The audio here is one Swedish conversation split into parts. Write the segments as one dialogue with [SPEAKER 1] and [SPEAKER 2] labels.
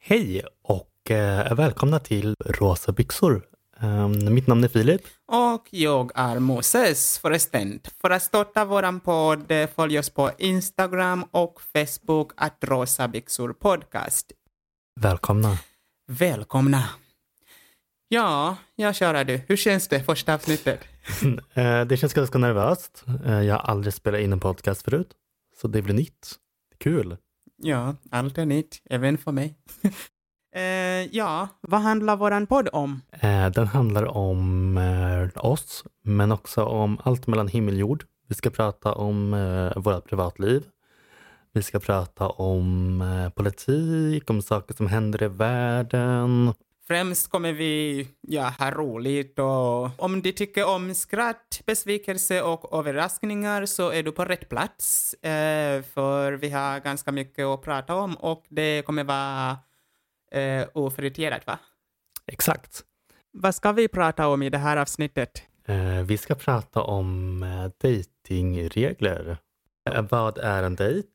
[SPEAKER 1] Hej och eh, välkomna till Rosa byxor. Eh, mitt namn är Filip.
[SPEAKER 2] Och jag är Moses förresten. För att starta våran podd eh, följ oss på Instagram och Facebook att Rosa Byxor Podcast.
[SPEAKER 1] Välkomna.
[SPEAKER 2] Välkomna! Ja, jag kör du. Hur känns det första avsnittet?
[SPEAKER 1] Eh, det känns ganska nervöst. Eh, jag har aldrig spelat in en podcast förut, så det blir nytt. Kul.
[SPEAKER 2] Ja, allt är nytt, även för mig. eh, ja, vad handlar våran podd om?
[SPEAKER 1] Eh, den handlar om eh, oss, men också om allt mellan himmel och jord. Vi ska prata om eh, vårt privatliv. Vi ska prata om eh, politik, om saker som händer i världen.
[SPEAKER 2] Främst kommer vi ja, ha roligt och om du tycker om skratt, besvikelse och överraskningar så är du på rätt plats. Eh, för vi har ganska mycket att prata om och det kommer vara eh, ofriterat va?
[SPEAKER 1] Exakt.
[SPEAKER 2] Vad ska vi prata om i det här avsnittet?
[SPEAKER 1] Eh, Vi ska prata om eh, datingregler. Eh, Vad är en dejt?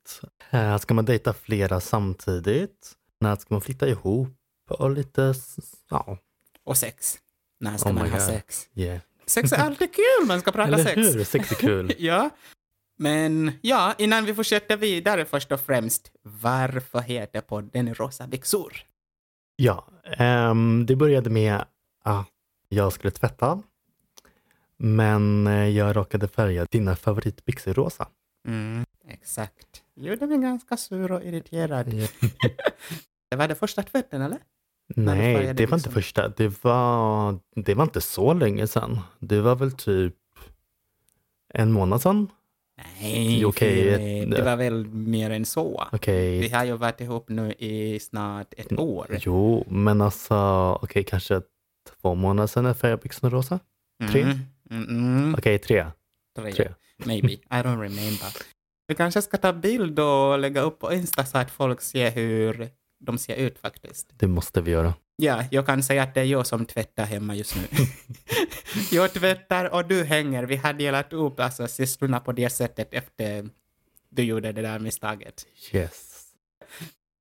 [SPEAKER 1] Eh, Ska man dejta flera samtidigt? När ska man flytta ihop? Och lite, s- s- ja.
[SPEAKER 2] Och sex. När ska
[SPEAKER 1] Oh
[SPEAKER 2] man
[SPEAKER 1] my
[SPEAKER 2] ha
[SPEAKER 1] God.
[SPEAKER 2] sex?
[SPEAKER 1] Yeah.
[SPEAKER 2] Sex är alltid kul, man ska prata
[SPEAKER 1] Eller
[SPEAKER 2] sex.
[SPEAKER 1] hur? Sex är kul.
[SPEAKER 2] Ja. Men ja, innan vi fortsätter vidare först och främst, varför heter podden Rosa byxor?
[SPEAKER 1] Ja, ehm, det började med att jag skulle tvätta. Men eh, jag råkade färga dina favoritbyxor rosa.
[SPEAKER 2] Mm, exakt. Gjorde mig ganska sur och irriterad.
[SPEAKER 1] Ja.
[SPEAKER 2] Det var det första tvätten, eller? du
[SPEAKER 1] Nej,
[SPEAKER 2] färgade
[SPEAKER 1] det var inte
[SPEAKER 2] byxorna.
[SPEAKER 1] första. Det var, det var inte så länge sedan. Det var väl typ en månad sedan.
[SPEAKER 2] Nej,
[SPEAKER 1] Jo, okej,
[SPEAKER 2] Filip,
[SPEAKER 1] ett-
[SPEAKER 2] det var väl mer än så.
[SPEAKER 1] Okej,
[SPEAKER 2] Vi har ju varit ihop nu i snart ett år.
[SPEAKER 1] jo, men alltså, okej, kanske två månader sedan jag färgade byxorna rosa. tre.
[SPEAKER 2] Mm, mm, mm,
[SPEAKER 1] Okej, tre.
[SPEAKER 2] tre.
[SPEAKER 1] tre.
[SPEAKER 2] Maybe. I don't remember. Vi kanske ska ta bild och lägga upp på Insta så att folk ser hur de ser ut faktiskt.
[SPEAKER 1] Det måste vi göra.
[SPEAKER 2] Ja, jag kan säga att det är jag som tvättar hemma just nu. jag tvättar och du hänger. Vi har delat upp alltså, sysslorna på det sättet efter du gjorde det där misstaget.
[SPEAKER 1] Yes.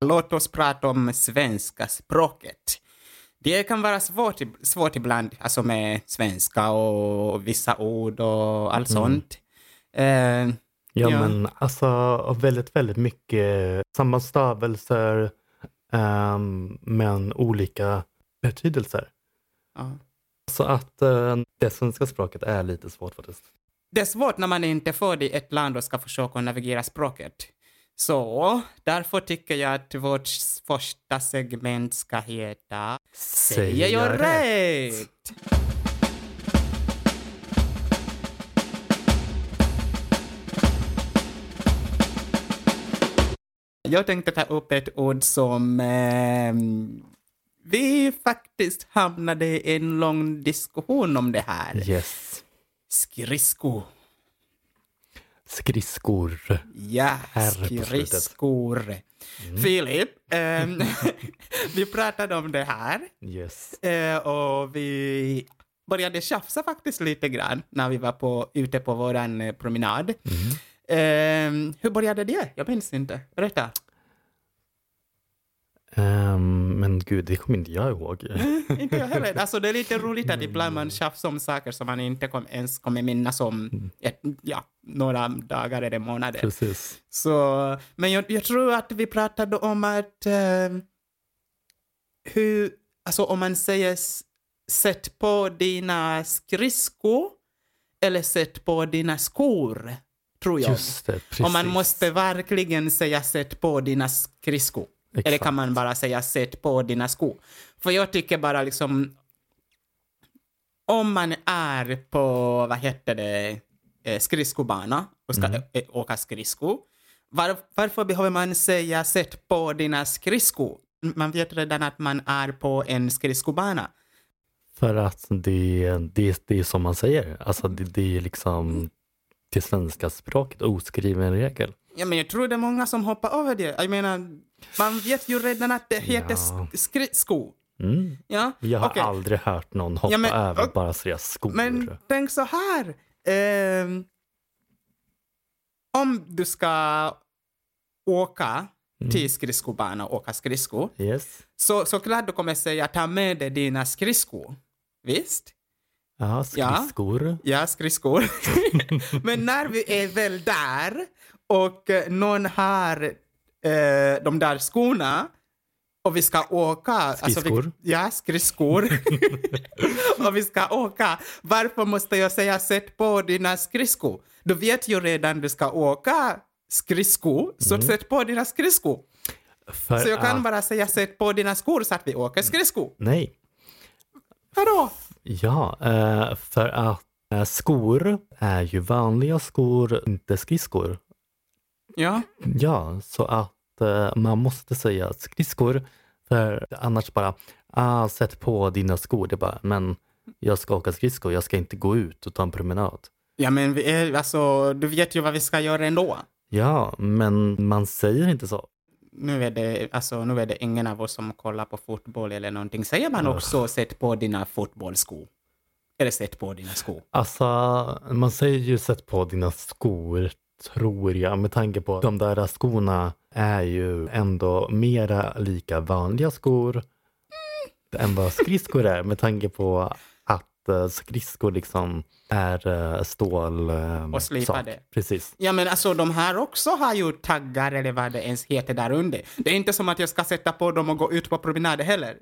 [SPEAKER 2] Låt oss prata om svenska språket. Det kan vara svårt, ib- svårt ibland, alltså med svenska och vissa ord och allt
[SPEAKER 1] Mm.
[SPEAKER 2] sånt. Eh,
[SPEAKER 1] Ja,
[SPEAKER 2] Ja.
[SPEAKER 1] men alltså och väldigt, väldigt mycket samma stavelser ehm, men olika betydelser.
[SPEAKER 2] ja.
[SPEAKER 1] Så att eh, det svenska språket är lite svårt faktiskt.
[SPEAKER 2] Det är svårt när man är inte är född i ett land och ska försöka navigera språket. Så därför tycker jag att vårt s- första segment ska heta Säger jag rätt? Jag tänkte ta upp ett ord som ehm, vi faktiskt hamnade i en lång diskussion om det här.
[SPEAKER 1] Yes.
[SPEAKER 2] Skridsko.
[SPEAKER 1] Skridskor.
[SPEAKER 2] Ja,
[SPEAKER 1] R på slutet.
[SPEAKER 2] skridskor. Filip, ehm, vi pratade om det här.
[SPEAKER 1] Yes.
[SPEAKER 2] Eh, och vi började tjafsa faktiskt lite grann när vi var på, ute på våran eh, promenad. Eh, hur började det? Jag minns inte. Berätta.
[SPEAKER 1] Ehm, men gud, det kommer inte jag ihåg.
[SPEAKER 2] inte jag heller. Alltså det är lite roligt att ibland man tjafsar om saker som man inte kom, ens kommer minnas om ett, ja, några dagar eller månader.
[SPEAKER 1] Precis.
[SPEAKER 2] Så, men jag, jag tror att vi pratade om att eh, hur, alltså om man säger s- sätt på dina skridskor eller sätt på dina skor, tror jag.
[SPEAKER 1] Just det, precis.
[SPEAKER 2] om man måste verkligen säga sätt på dina skridskor. Eller
[SPEAKER 1] Exakt.
[SPEAKER 2] kan man bara säga sätt på dina skor? För jag tycker bara liksom om man är på, vad heter det, eh, skridskobana och ska
[SPEAKER 1] Mm.
[SPEAKER 2] eh, åka skridsko, var, varför behöver man säga sätt på dina skridskor? Man vet redan att man är på en skridskobana.
[SPEAKER 1] För att det, det, det är som man säger. Alltså det, det är
[SPEAKER 2] Mm.
[SPEAKER 1] liksom det svenska språket, oskriven regel.
[SPEAKER 2] Ja, men jag tror det är många som hoppar över det. Jag menar, man vet ju redan att det heter
[SPEAKER 1] Ja.
[SPEAKER 2] ja. skridsko.
[SPEAKER 1] Mm.
[SPEAKER 2] Ja,
[SPEAKER 1] Jag har
[SPEAKER 2] okej.
[SPEAKER 1] aldrig hört någon hoppa
[SPEAKER 2] Ja, men-
[SPEAKER 1] över
[SPEAKER 2] och-
[SPEAKER 1] bara att säga skor.
[SPEAKER 2] Men tänk så här. ehm, om du ska åka till skridskobana och åka skridskor.
[SPEAKER 1] Yes.
[SPEAKER 2] Så såklart du kommer säga ta med dig dina skridskor. Visst?
[SPEAKER 1] Jaha,
[SPEAKER 2] Ja.
[SPEAKER 1] skridskor.
[SPEAKER 2] Ja, skridskor. Men när vi är väl där och eh, någon har eh, de där skorna och vi ska åka.
[SPEAKER 1] Skridskor.
[SPEAKER 2] Alltså vi, ja, skridskor. och vi ska åka. Varför måste jag säga sätt på dina skridskor? Du vet ju redan du ska åka skridskor, så sätt på dina skridskor.
[SPEAKER 1] Mm. För
[SPEAKER 2] Så jag
[SPEAKER 1] att...
[SPEAKER 2] kan bara säga sätt på dina skor så att vi åker skridskor.
[SPEAKER 1] Nej.
[SPEAKER 2] Vadå?
[SPEAKER 1] Ja, eh, för att eh, skor är ju vanliga skor, inte skridskor.
[SPEAKER 2] Ja.
[SPEAKER 1] Ja, så att eh, man måste säga skridskor. För annars bara, ah, sätt på dina skor. Det är bara, men jag ska åka skridskor, jag ska inte gå ut och ta en promenad.
[SPEAKER 2] Ja men vi är, alltså, du vet ju vad vi ska göra ändå.
[SPEAKER 1] Ja, men man säger inte så.
[SPEAKER 2] Nu är, det, alltså, nu är det ingen av oss som kollar på fotboll eller någonting. Säger man också sätt på dina fotbollsskor? Eller sätt på dina skor?
[SPEAKER 1] Alltså, man säger ju sätt på dina skor, tror jag, med tanke på att de där skorna är ju ändå mera lika vanliga skor än vad skridskor är, med tanke på att eh, skridskor liksom är eh, stål... eh,
[SPEAKER 2] Och slipade.
[SPEAKER 1] sak. Precis.
[SPEAKER 2] Ja men alltså de här också har ju taggar eller vad det ens heter där under. Det är inte som att jag ska sätta på dem och gå ut på promenad heller.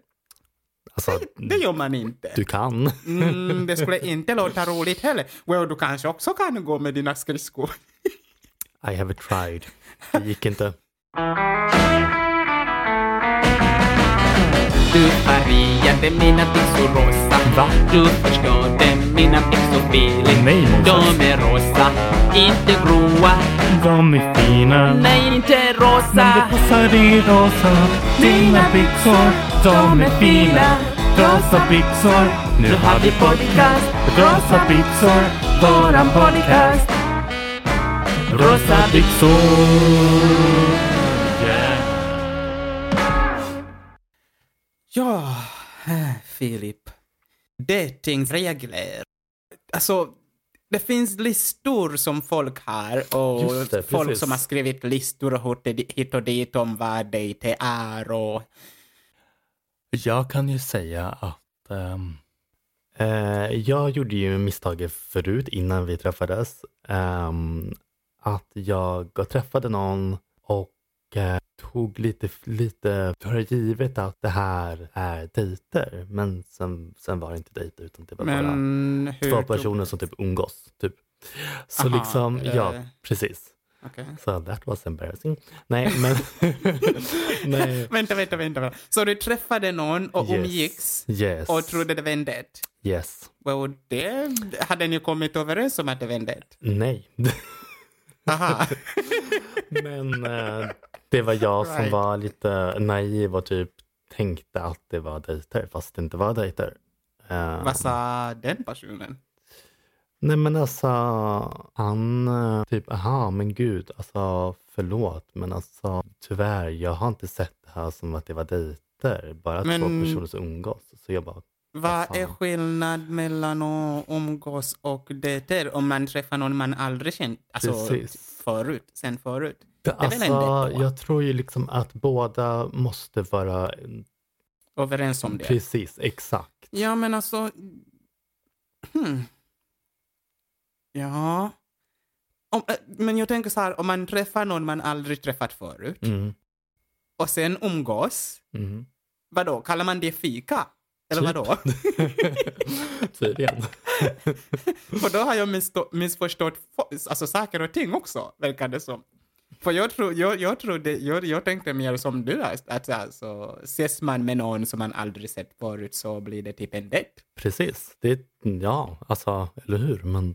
[SPEAKER 1] Alltså,
[SPEAKER 2] Det gör man inte.
[SPEAKER 1] du kan.
[SPEAKER 2] Mm, det skulle inte låta roligt heller. Well, du kanske också kan gå med dina skridskor.
[SPEAKER 1] I have tried. Det gick inte.
[SPEAKER 3] Du färgade mina byxor rosa.
[SPEAKER 4] Va?
[SPEAKER 3] Du förstörde mina byxor billigt.
[SPEAKER 4] Nej, Moses.
[SPEAKER 3] De är rosa, inte gråa.
[SPEAKER 4] De är fina.
[SPEAKER 3] Nej, inte
[SPEAKER 4] Men
[SPEAKER 3] rosa.
[SPEAKER 4] det passar i rosa. Dina byxor, de är fina. Rosa byxor. Nu har vi podcast. Rosa byxor, våran podcast. Rosa byxor. Yeah.
[SPEAKER 2] Ja, eh, Filip. Datingregler. Alltså, det finns listor som folk har och
[SPEAKER 1] Just det,
[SPEAKER 2] folk
[SPEAKER 1] precis.
[SPEAKER 2] som har skrivit listor och hit- hit och dit om vad dejt är och...
[SPEAKER 4] Jag kan ju säga att... ehm,
[SPEAKER 1] Eh, jag gjorde ju misstaget förut innan vi träffades. ehm, att jag träffade någon och eh, tog lite, lite för givet att det här är dejter. Men sen, sen var det inte dejter utan det var bara
[SPEAKER 2] Men hur...
[SPEAKER 1] två
[SPEAKER 2] tog-
[SPEAKER 1] personer som typ umgås. Typ. Så
[SPEAKER 2] Aha,
[SPEAKER 1] liksom, ja
[SPEAKER 2] eh.
[SPEAKER 1] precis.
[SPEAKER 2] Okej.
[SPEAKER 1] Så that was embarrassing. Nej men. Nej.
[SPEAKER 2] Vänta, vänta, vänta. vänta. Så du träffade någon och
[SPEAKER 1] Yes.
[SPEAKER 2] umgicks
[SPEAKER 1] Yes.
[SPEAKER 2] och trodde det var en dejt?
[SPEAKER 1] Yes.
[SPEAKER 2] Well, det hade ni kommit överens om att det var en dejt?
[SPEAKER 1] Nej.
[SPEAKER 2] Aha.
[SPEAKER 1] Men eh, det var jag som
[SPEAKER 2] Right.
[SPEAKER 1] var lite naiv och typ tänkte att det var dejter fast det inte var dejter. Eh,
[SPEAKER 2] Vad sa den personen?
[SPEAKER 1] Nej men alltså han eh, typ, aha men gud alltså förlåt men alltså tyvärr jag har inte sett det här som att det var dejter. Bara två
[SPEAKER 2] Men-
[SPEAKER 1] personer som umgås. Så jag bara,
[SPEAKER 2] Vad är
[SPEAKER 1] fan.
[SPEAKER 2] skillnad mellan att umgås och dejter om man träffar någon man aldrig känt alltså,
[SPEAKER 1] Precis.
[SPEAKER 2] förut, sen förut?
[SPEAKER 1] det,
[SPEAKER 2] väl en
[SPEAKER 1] alltså
[SPEAKER 2] dejt då?
[SPEAKER 1] jag tror ju liksom att båda måste vara
[SPEAKER 2] Överens om det?
[SPEAKER 1] precis exakt.
[SPEAKER 2] Ja, men alltså... Hmm. Ja. Om, äh, men jag tänker så här, om man träffar någon man aldrig träffat förut
[SPEAKER 1] Mm,
[SPEAKER 2] och sen umgås,
[SPEAKER 1] mm.
[SPEAKER 2] vadå, kallar man det fika? Eller
[SPEAKER 1] Typ.
[SPEAKER 2] vadå?
[SPEAKER 1] Tydligen.
[SPEAKER 2] För då har jag misstå- missförstått fo- alltså, saker och ting också, verkar det som. För jag, tro, jag, jag, trodde, jag, jag tänkte mer som du, att- att alltså, ses man med någon som man aldrig sett förut så blir det typ en dejt.
[SPEAKER 1] Precis. Det, ja, alltså, eller hur? Men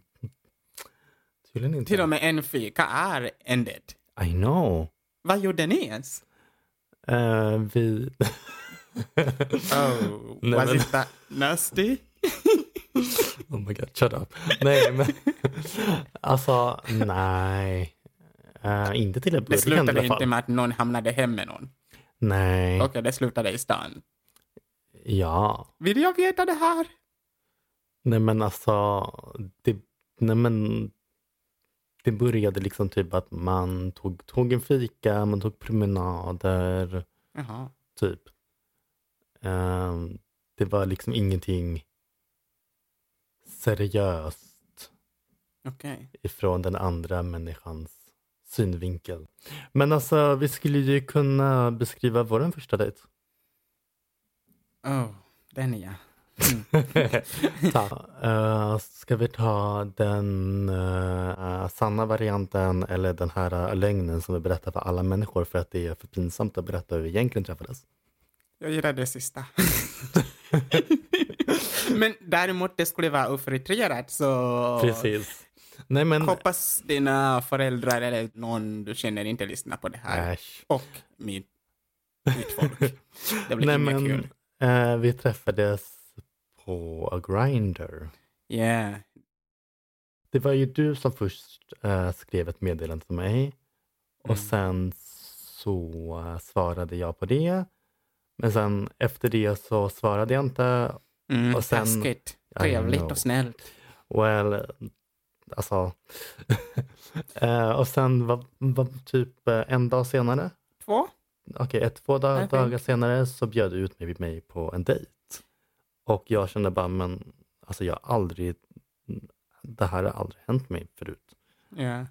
[SPEAKER 1] tydligen inte.
[SPEAKER 2] Till och med en fika är en dejt.
[SPEAKER 1] I know.
[SPEAKER 2] Vad gjorde ni ens?
[SPEAKER 1] Eh, vi...
[SPEAKER 2] Oh,
[SPEAKER 1] Nej,
[SPEAKER 2] was
[SPEAKER 1] men-
[SPEAKER 2] it that nasty?
[SPEAKER 1] oh my god, shut up. Nej, men... alltså, nej. Eh, inte till en
[SPEAKER 2] Det
[SPEAKER 1] början i
[SPEAKER 2] slutade
[SPEAKER 1] alla
[SPEAKER 2] inte
[SPEAKER 1] fall. Mm.
[SPEAKER 2] med att någon hamnade hem med någon.
[SPEAKER 1] Nej.
[SPEAKER 2] Okej, det slutade i stan.
[SPEAKER 1] Ja.
[SPEAKER 2] Vill jag veta det här?
[SPEAKER 1] Nej, men alltså... Det... Nej, men... Det började liksom typ att man tog, tog en fika, man tog promenader,
[SPEAKER 2] Jaha.
[SPEAKER 1] typ. Ehm, det var liksom ingenting seriöst
[SPEAKER 2] Okej.
[SPEAKER 1] ifrån den andra människans synvinkel. Men alltså, vi skulle ju kunna beskriva vår första dejt.
[SPEAKER 2] Oh, den är jag.
[SPEAKER 1] Ta. Eh, ska vi ta den eh, sanna varianten eller den här eh, lögnen som vi berättar för alla människor för att det är för pinsamt att berätta hur vi egentligen träffades?
[SPEAKER 2] Jag gillar det sista. Men däremot, det skulle vara ofiltrerat, så...
[SPEAKER 1] Precis. Nej men,
[SPEAKER 2] Hoppas dina föräldrar eller någon du känner inte lyssnar på det här.
[SPEAKER 1] äsch.
[SPEAKER 2] Och mitt, mitt folk. Det blir
[SPEAKER 1] Nej,
[SPEAKER 2] inget
[SPEAKER 1] men
[SPEAKER 2] kul.
[SPEAKER 1] eh, vi träffades på a grinder.
[SPEAKER 2] Yeah.
[SPEAKER 1] Det var ju du som först eh, skrev ett meddelande till mig och
[SPEAKER 2] Mm.
[SPEAKER 1] sen så eh, svarade jag på det. Men sen efter det så svarade jag inte
[SPEAKER 2] Mm,
[SPEAKER 1] Och sen-
[SPEAKER 2] taskigt.
[SPEAKER 1] I
[SPEAKER 2] Trevligt
[SPEAKER 1] know.
[SPEAKER 2] och snällt.
[SPEAKER 1] Well, alltså. Eh, och sen var, var typ eh, en dag senare,
[SPEAKER 2] Två?
[SPEAKER 1] okej ett, två da-
[SPEAKER 2] I think.
[SPEAKER 1] dagar senare så bjöd du ut mig, mig på en dejt. Och jag kände bara, men alltså jag har aldrig, det här har aldrig hänt mig förut.
[SPEAKER 2] Ja.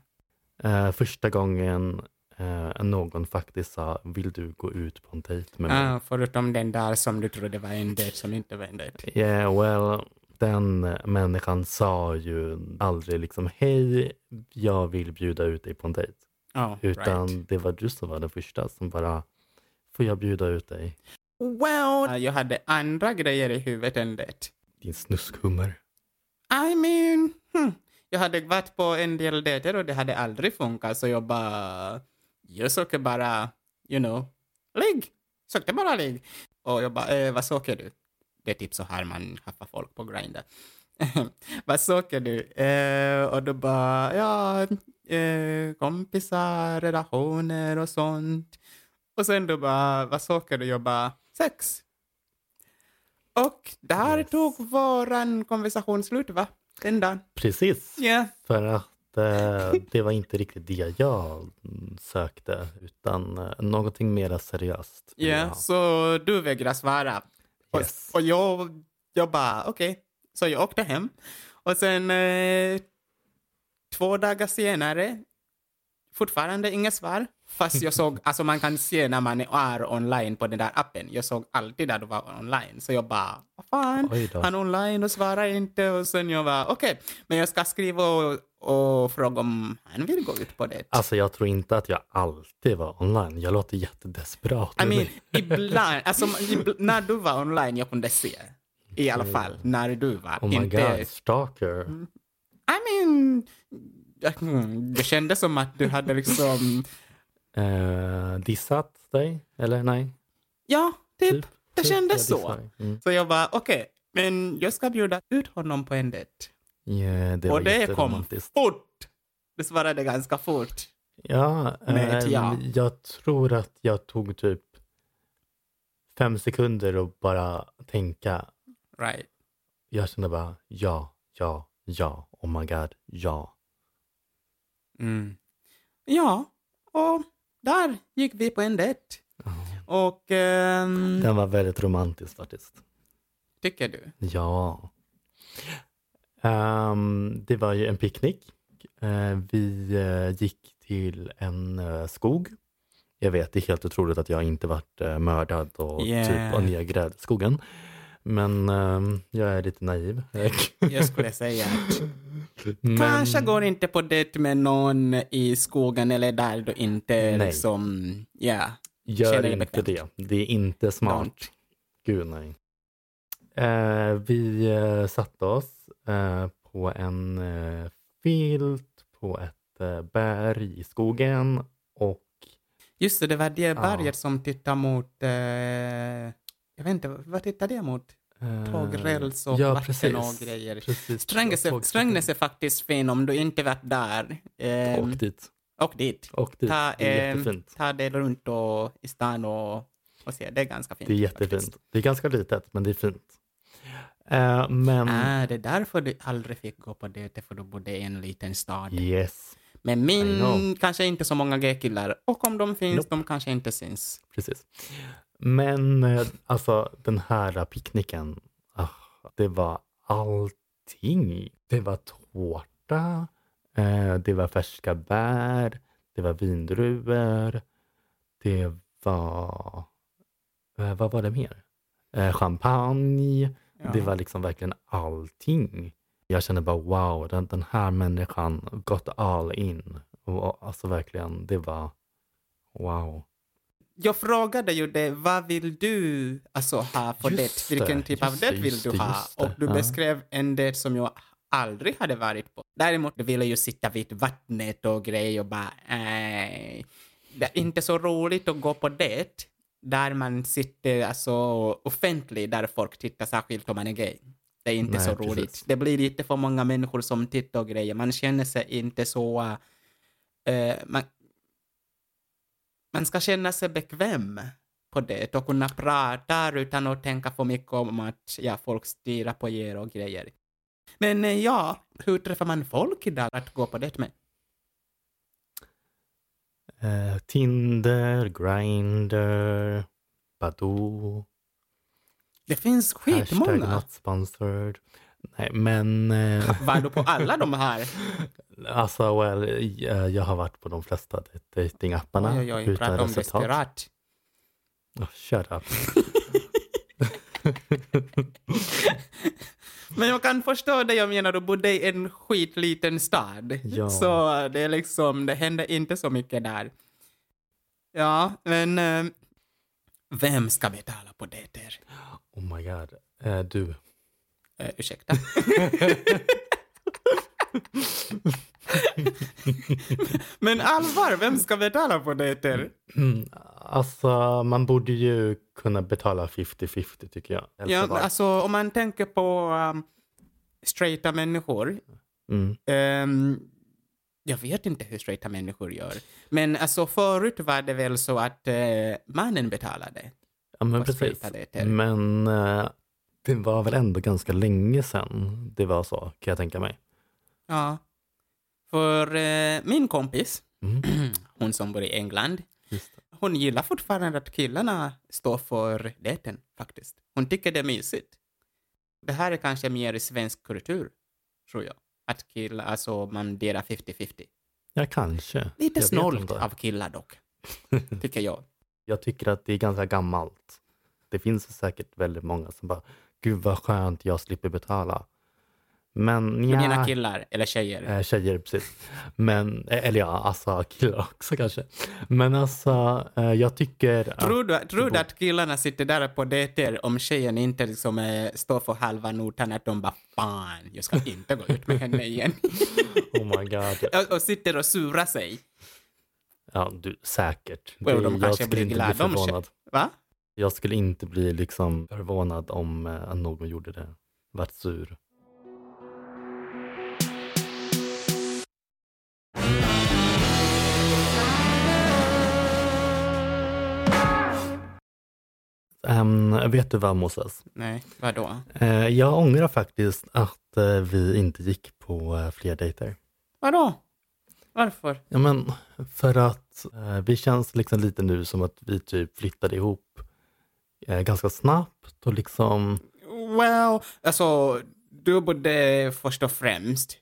[SPEAKER 1] Eh, första gången eh, någon faktiskt sa, vill du gå ut på en dejt med mig?
[SPEAKER 2] Ah, förutom den där som du trodde var en dejt som inte var en dejt.
[SPEAKER 1] Yeah, well, den människan sa ju aldrig liksom, hej, jag vill bjuda ut dig på en dejt.
[SPEAKER 2] Oh,
[SPEAKER 1] Utan
[SPEAKER 2] right.
[SPEAKER 1] det var du som var den första som bara, får jag bjuda ut dig?
[SPEAKER 2] Well, jag hade andra grejer i huvudet än det.
[SPEAKER 1] Din snuskhummer.
[SPEAKER 2] I mean, hmm. jag hade varit på en del dejter och det hade aldrig funkat så jag bara, jag söker bara, you know, ligg. Sökte bara ligg. Och jag bara, eh, vad söker du? Det är typ så här man haffar folk på Grindr. vad söker du? Eh, och då bara, ja, eh, kompisar, relationer och sånt. Och sen då bara, vad söker du? Jag bara, sex. Och där
[SPEAKER 1] Yes.
[SPEAKER 2] tog våran konversation slut va? Den dagen.
[SPEAKER 1] Precis,
[SPEAKER 2] Ja. Yeah.
[SPEAKER 1] för att eh, det var inte riktigt det jag mm, sökte, utan eh, någonting mer seriöst. vill jag ha.
[SPEAKER 2] så du vägrar svara. Och,
[SPEAKER 1] Yes.
[SPEAKER 2] och jag, jag bara okej. Så jag åkte hem. Och sen eh, två dagar senare, fortfarande inget svar. Fast jag såg, alltså man kan se när man är online på den där appen. Jag såg alltid att du var online. Så jag bara, vad fan,
[SPEAKER 1] Oj då.
[SPEAKER 2] han är online och svarar inte. Och sen jag bara, okej, men jag ska skriva och, och fråga om han vill gå ut på det.
[SPEAKER 1] Alltså jag tror inte att jag alltid var online. Jag låter jättedesperat.
[SPEAKER 2] I mean, ibland, alltså, ibl- när du var online, jag kunde se. I alla fall, när du var.
[SPEAKER 1] Mm. oh my
[SPEAKER 2] inte, Mm.
[SPEAKER 1] god, stalker.
[SPEAKER 2] I mean, mm, det kändes som att du hade liksom,
[SPEAKER 1] Eh, dissat dig? Eller nej?
[SPEAKER 2] ja, typ.
[SPEAKER 1] Typ,
[SPEAKER 2] det
[SPEAKER 1] typ,
[SPEAKER 2] kändes
[SPEAKER 1] jag
[SPEAKER 2] så.
[SPEAKER 1] dissar dig. Mm.
[SPEAKER 2] Så jag bara, okej, men jag ska bjuda ut honom på en dejt.
[SPEAKER 1] Yeah, det var
[SPEAKER 2] Och det kom
[SPEAKER 1] jätteromantiskt.
[SPEAKER 2] fort. Du svarade ganska fort.
[SPEAKER 1] Ja,
[SPEAKER 2] Med ett
[SPEAKER 1] ehm,
[SPEAKER 2] ja.
[SPEAKER 1] jag tror att jag tog typ fem sekunder och bara tänka.
[SPEAKER 2] Right.
[SPEAKER 1] Jag kände bara ja, ja, ja, oh my god, ja.
[SPEAKER 2] Mm. Ja, och där gick vi på en dejt. Och, ehm,
[SPEAKER 1] Den var väldigt romantisk faktiskt.
[SPEAKER 2] tycker du?
[SPEAKER 1] Ja. Ehm, det var ju en picknick. Eh, vi eh, gick till en eh, skog. Jag vet, det är helt otroligt att jag inte varit eh, mördad och
[SPEAKER 2] Yeah.
[SPEAKER 1] typ nedgrävd i skogen. Men ehm, jag är lite naiv.
[SPEAKER 2] Jag skulle säga att
[SPEAKER 1] Men-
[SPEAKER 2] Kanske går inte på dejt med någon i skogen eller där du inte
[SPEAKER 1] Nej.
[SPEAKER 2] liksom, ja. Känner
[SPEAKER 1] Gör
[SPEAKER 2] dig
[SPEAKER 1] inte
[SPEAKER 2] bekvämt.
[SPEAKER 1] det. Det är inte smart.
[SPEAKER 2] don't.
[SPEAKER 1] Gud nej. Eh, vi eh, satte oss eh, på en eh, filt på ett eh, berg i skogen och
[SPEAKER 2] Just det, det var det
[SPEAKER 1] Ja.
[SPEAKER 2] berget som tittar mot, eh, jag vet inte, vad tittar det mot?
[SPEAKER 1] eh,
[SPEAKER 2] Tågräls och vatten och grejer.
[SPEAKER 1] Precis.
[SPEAKER 2] Strängnäs är,
[SPEAKER 1] Tåg-
[SPEAKER 2] Strängnäs är faktiskt fin om du inte varit där. Eh,
[SPEAKER 1] Åk dit.
[SPEAKER 2] och dit.
[SPEAKER 1] Åk dit.
[SPEAKER 2] Ta,
[SPEAKER 1] det är
[SPEAKER 2] eh,
[SPEAKER 1] jättefint.
[SPEAKER 2] ta det runt och, i stan och, och se, det är ganska fint.
[SPEAKER 1] Det är
[SPEAKER 2] faktiskt.
[SPEAKER 1] jättefint. Det är ganska litet men det är fint. Eh, men
[SPEAKER 2] Ah, det är därför du aldrig fick gå på dejter, för du bodde i en liten stad.
[SPEAKER 1] yes.
[SPEAKER 2] Men
[SPEAKER 1] I know.
[SPEAKER 2] min kanske inte så många gaykillar. Och om de finns,
[SPEAKER 1] Nope.
[SPEAKER 2] de kanske inte syns.
[SPEAKER 1] Precis. Men eh, alltså den här picknicken, ah, det var allting. Det var tårta, eh, det var färska bär, det var vindruvor, det var... Eh, vad var det mer? Eh, champagne.
[SPEAKER 2] Ja.
[SPEAKER 1] Det var liksom verkligen allting. Jag kände bara wow, den, den här människan got all in. Och, och, alltså verkligen, det var wow.
[SPEAKER 2] Jag frågade ju dig, vad vill du alltså, ha för
[SPEAKER 1] Just
[SPEAKER 2] det? Vilken
[SPEAKER 1] det,
[SPEAKER 2] typ av
[SPEAKER 1] just
[SPEAKER 2] det
[SPEAKER 1] det,
[SPEAKER 2] vill
[SPEAKER 1] just
[SPEAKER 2] du
[SPEAKER 1] det,
[SPEAKER 2] ha?
[SPEAKER 1] just det.
[SPEAKER 2] Och du
[SPEAKER 1] Ja.
[SPEAKER 2] beskrev en det som jag aldrig hade varit på. Däremot ville jag ju sitta vid vattnet och grejer och bara, "Äh." nej. Det är inte så roligt att gå på det där man sitter alltså, offentligt, där folk tittar, särskilt om man är gay. Det är inte
[SPEAKER 1] Nej,
[SPEAKER 2] så
[SPEAKER 1] precis.
[SPEAKER 2] roligt. Det blir lite för många människor som tittar och grejer. Man känner sig inte så... eh, man, man ska känna sig bekväm på det och kunna prata utan att tänka för mycket om att ja, folk stirrar på er och grejer. Men eh, ja, hur träffar man folk idag att gå på det med?
[SPEAKER 1] Eh, Tinder, Grindr, Badoo,
[SPEAKER 2] Det finns
[SPEAKER 1] hashtag
[SPEAKER 2] skitmånga.
[SPEAKER 1] not sponsored. Nej, men eh,
[SPEAKER 2] Var du på alla de här?
[SPEAKER 1] alltså, well, eh, jag har varit på de flesta datingapparna
[SPEAKER 2] Oj, oj, oj, prata om desperat.
[SPEAKER 1] Oh, shut up.
[SPEAKER 2] Men jag kan förstå det jag menar, du bodde i en skitliten stad.
[SPEAKER 1] Ja.
[SPEAKER 2] Så det är liksom, det hände inte så mycket där. Ja, men eh, vem ska betala på det där?
[SPEAKER 1] Oh my god. Eh, du,
[SPEAKER 2] Eh, ursäkta. men allvar, vem ska betala på det där?
[SPEAKER 1] alltså man borde ju kunna betala 50-50 tycker jag. Eller
[SPEAKER 2] Ja,
[SPEAKER 1] vad?
[SPEAKER 2] alltså om man tänker på um, straighta människor,
[SPEAKER 1] mm.
[SPEAKER 2] Ehm, jag vet inte hur straighta människor gör. Men alltså förut var det väl så att eh, mannen betalade.
[SPEAKER 1] ja men
[SPEAKER 2] vad
[SPEAKER 1] precis.
[SPEAKER 2] straighta det är.
[SPEAKER 1] Men eh, det var väl ändå ganska länge sedan det var så, kan jag tänka mig.
[SPEAKER 2] Ja. För eh, min kompis,
[SPEAKER 1] Mm.
[SPEAKER 2] hon som bor i England,
[SPEAKER 1] Just det.
[SPEAKER 2] hon gillar fortfarande att killarna står för dejten faktiskt. Hon tycker det är mysigt. Det här är kanske mer i svensk kultur, tror jag. Att killar, alltså man delar 50-50.
[SPEAKER 1] Ja, kanske.
[SPEAKER 2] Lite
[SPEAKER 1] Jag vet
[SPEAKER 2] snålt
[SPEAKER 1] inte.
[SPEAKER 2] av killar dock, tycker jag.
[SPEAKER 1] Jag tycker att det är ganska gammalt. Det finns säkert väldigt många som bara, gud vad skönt, jag slipper betala. Men
[SPEAKER 2] Du menar
[SPEAKER 1] ja,
[SPEAKER 2] killar eller tjejer?
[SPEAKER 1] eh, tjejer precis. Men, eh, eller ja, alltså killar också kanske. Men alltså, eh, jag tycker att-
[SPEAKER 2] Tror du, tror du att killarna sitter där på dejter om tjejen inte liksom, eh, står för halva notan, att de bara fan, jag ska inte gå ut med henne igen.
[SPEAKER 1] oh my god,
[SPEAKER 2] och, och sitter och surar sig.
[SPEAKER 1] ja, du, säkert.
[SPEAKER 2] Well, de
[SPEAKER 1] jag
[SPEAKER 2] kanske
[SPEAKER 1] skulle
[SPEAKER 2] blir
[SPEAKER 1] inte
[SPEAKER 2] glada
[SPEAKER 1] bli
[SPEAKER 2] om tje-
[SPEAKER 1] förvånad.
[SPEAKER 2] Va?
[SPEAKER 1] Jag skulle inte bli liksom förvånad om eh, att någon gjorde det. Vart sur. Ehm, vet du vad Moses?
[SPEAKER 2] Nej, vadå?
[SPEAKER 1] Eh, jag ångrar faktiskt att eh, vi inte gick på eh, fler dejter.
[SPEAKER 2] Vadå? Varför?
[SPEAKER 1] Ja, men för att eh, vi känns liksom lite nu som att vi typ flyttade ihop eh, ganska snabbt och liksom
[SPEAKER 2] Well, alltså, du borde först och främst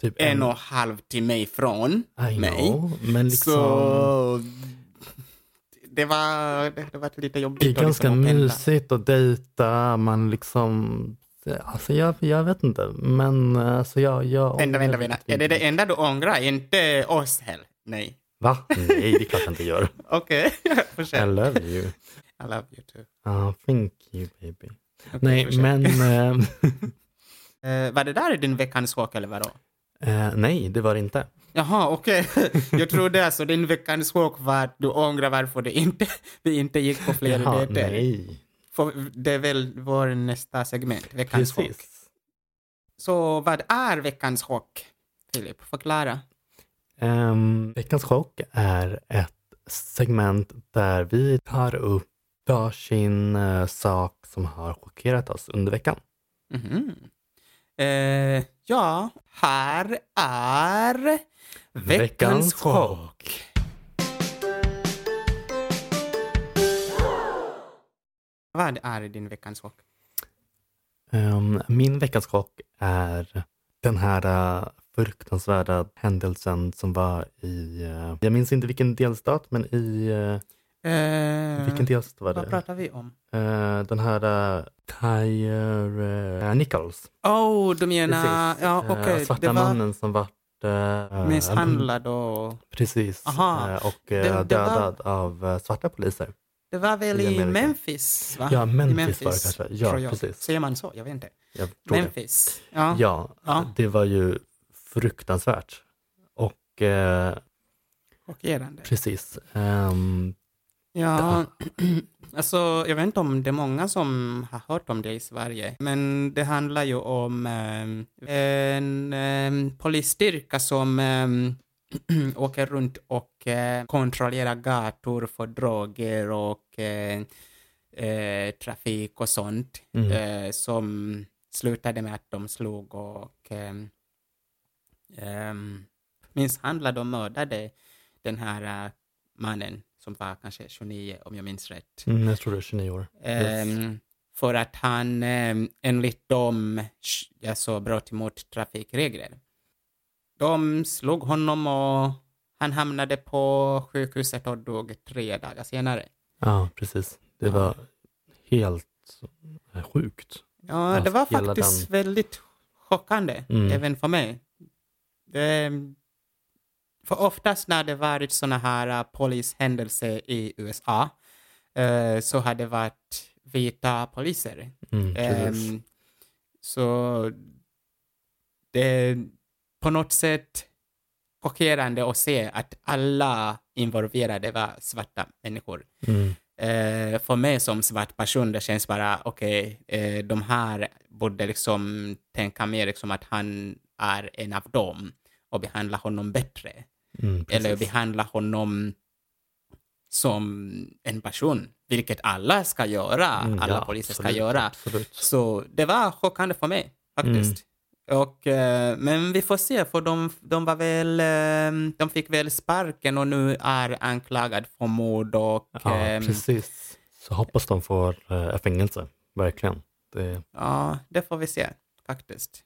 [SPEAKER 1] typ
[SPEAKER 2] en och en halv timme ifrån
[SPEAKER 1] I
[SPEAKER 2] mig.
[SPEAKER 1] know, men liksom
[SPEAKER 2] Så... Det var, det, det var lite jobbigt
[SPEAKER 1] det är
[SPEAKER 2] att liksom
[SPEAKER 1] ganska
[SPEAKER 2] att pendla.
[SPEAKER 1] mysigt att dejta, man liksom Alltså jag, jag vet inte, men eh, alltså jag... jag
[SPEAKER 2] Vänta, vänta,
[SPEAKER 1] jag-
[SPEAKER 2] vänta. Är det det enda du ångrar? Inte oss heller? Nej.
[SPEAKER 1] Va? Nej, det är klart jag inte gör.
[SPEAKER 2] Okej, fortsätt.
[SPEAKER 1] I love you.
[SPEAKER 2] I love you too.
[SPEAKER 1] Ah, thank you baby. Nej,
[SPEAKER 2] fortsätt.
[SPEAKER 1] men... eh,
[SPEAKER 2] Eh, var det där din veckans chock eller vadå?
[SPEAKER 1] eh, nej, det var det inte.
[SPEAKER 2] Jaha, okej. Jag trodde alltså din veckans chock var att du ångrar varför det inte, vi inte gick på fler
[SPEAKER 1] Jaha,
[SPEAKER 2] dejter.
[SPEAKER 1] nej.
[SPEAKER 2] För det är väl vår nästa segment, veckans chock.
[SPEAKER 1] Precis.
[SPEAKER 2] Så vad är veckans chock? Filip, förklara.
[SPEAKER 1] Ehm, veckans chock är ett segment där vi tar upp varsin eh, sak som har chockerat oss under veckan.
[SPEAKER 2] Mhm. Eh, ja, här är veckans
[SPEAKER 1] Veckans
[SPEAKER 2] chock. Vad är din veckans chock?
[SPEAKER 1] Ehm, min veckans chock är den här eh, fruktansvärda händelsen som var i, eh, jag minns inte vilken delstat, men i, eh,
[SPEAKER 2] Eh,
[SPEAKER 1] vilken delstat var det?
[SPEAKER 2] vad pratar vi om?
[SPEAKER 1] Eh, den här uh, Tyre eh, Nichols.
[SPEAKER 2] Oh, du menar...
[SPEAKER 1] Precis.
[SPEAKER 2] Ja,
[SPEAKER 1] Eh,
[SPEAKER 2] okej.
[SPEAKER 1] svarta
[SPEAKER 2] det var
[SPEAKER 1] mannen som vart eh,
[SPEAKER 2] misshandlad och...
[SPEAKER 1] Precis.
[SPEAKER 2] Aha.
[SPEAKER 1] eh, och
[SPEAKER 2] Det-
[SPEAKER 1] eh,
[SPEAKER 2] det var-
[SPEAKER 1] dödad av eh, svarta poliser.
[SPEAKER 2] Det var väl
[SPEAKER 1] I
[SPEAKER 2] i
[SPEAKER 1] Amerika.
[SPEAKER 2] Memphis, va?
[SPEAKER 1] Ja,
[SPEAKER 2] I
[SPEAKER 1] Memphis var det kanske. Ja,
[SPEAKER 2] Ah, tror jag.
[SPEAKER 1] precis.
[SPEAKER 2] Säger man så? Jag vet inte.
[SPEAKER 1] Jag tror det.
[SPEAKER 2] Memphis. Ja.
[SPEAKER 1] Ja,
[SPEAKER 2] Ja.
[SPEAKER 1] det var ju fruktansvärt. Och eh,
[SPEAKER 2] Chockerande.
[SPEAKER 1] precis. ehm,
[SPEAKER 2] Ja, alltså jag vet inte om det är många som har hört om det i Sverige, men det handlar ju om ehm, en um, polisstyrka som ehm, åker runt och eh, kontrollerar gator för droger och eh, eh, trafik och sånt,
[SPEAKER 1] Mm.
[SPEAKER 2] eh, som slutade med att de slog och ehm, ehm, misshandlade och mördade den här eh, mannen som var kanske 29 om jag minns rätt.
[SPEAKER 1] mm, jag tror det är 29 år. Yes.
[SPEAKER 2] Ehm, för att han um, enligt dem sh- alltså, bröt emot trafikregler. De slog honom och han hamnade på sjukhuset och dog tre dagar senare.
[SPEAKER 1] Ja, precis. Det
[SPEAKER 2] Ja.
[SPEAKER 1] var helt eh, sjukt.
[SPEAKER 2] Ja,
[SPEAKER 1] Ja,
[SPEAKER 2] det var
[SPEAKER 1] hela
[SPEAKER 2] faktiskt väldigt chockande,
[SPEAKER 1] Mm.
[SPEAKER 2] även för mig. Det, för oftast när det varit sådana här uh, polishändelser i USA eh, så har det varit vita poliser.
[SPEAKER 1] Mm, precis.
[SPEAKER 2] Ehm, så det är på något sätt chockerande att se att alla involverade var svarta människor.
[SPEAKER 1] Mm,
[SPEAKER 2] Eh, för mig som svart person, det känns bara okej, eh, de här borde liksom tänka mer liksom att han är en av dem och behandla honom bättre.
[SPEAKER 1] mm, precis.
[SPEAKER 2] Eller behandla honom som en person, vilket alla ska göra,
[SPEAKER 1] Mm,
[SPEAKER 2] alla
[SPEAKER 1] ja,
[SPEAKER 2] poliser ska
[SPEAKER 1] absolut,
[SPEAKER 2] göra.
[SPEAKER 1] Absolut.
[SPEAKER 2] Så det var chockande för mig
[SPEAKER 1] Mm.
[SPEAKER 2] faktiskt. Och, eh, men vi får se, för de, de, var väl, eh, de fick väl sparken och nu är anklagad för mord och...
[SPEAKER 1] Ja,
[SPEAKER 2] ehm,
[SPEAKER 1] precis. Så hoppas de får eh, fängelse, verkligen. Det,
[SPEAKER 2] Ja, det får vi se faktiskt.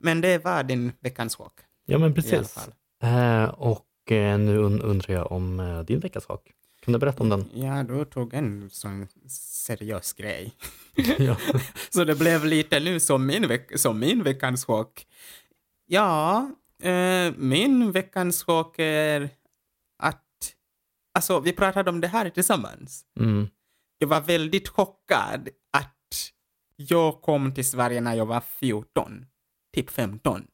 [SPEAKER 2] Men det var din veckans chock.
[SPEAKER 1] ja, men
[SPEAKER 2] I alla
[SPEAKER 1] precis.
[SPEAKER 2] fall.
[SPEAKER 1] Eh, och eh, nu un- undrar jag om eh, din veckans chock. Kan du berätta om den?
[SPEAKER 2] Ja, du tog en sån seriös grej.
[SPEAKER 1] ja.
[SPEAKER 2] Så det blev lite nu som min, veck- som min veckans chock. Ja, eh, min veckans chock är att... Alltså, vi pratade om det här tillsammans.
[SPEAKER 1] Mm.
[SPEAKER 2] Jag var väldigt chockad att jag kom till Sverige när jag var 14, typ 15.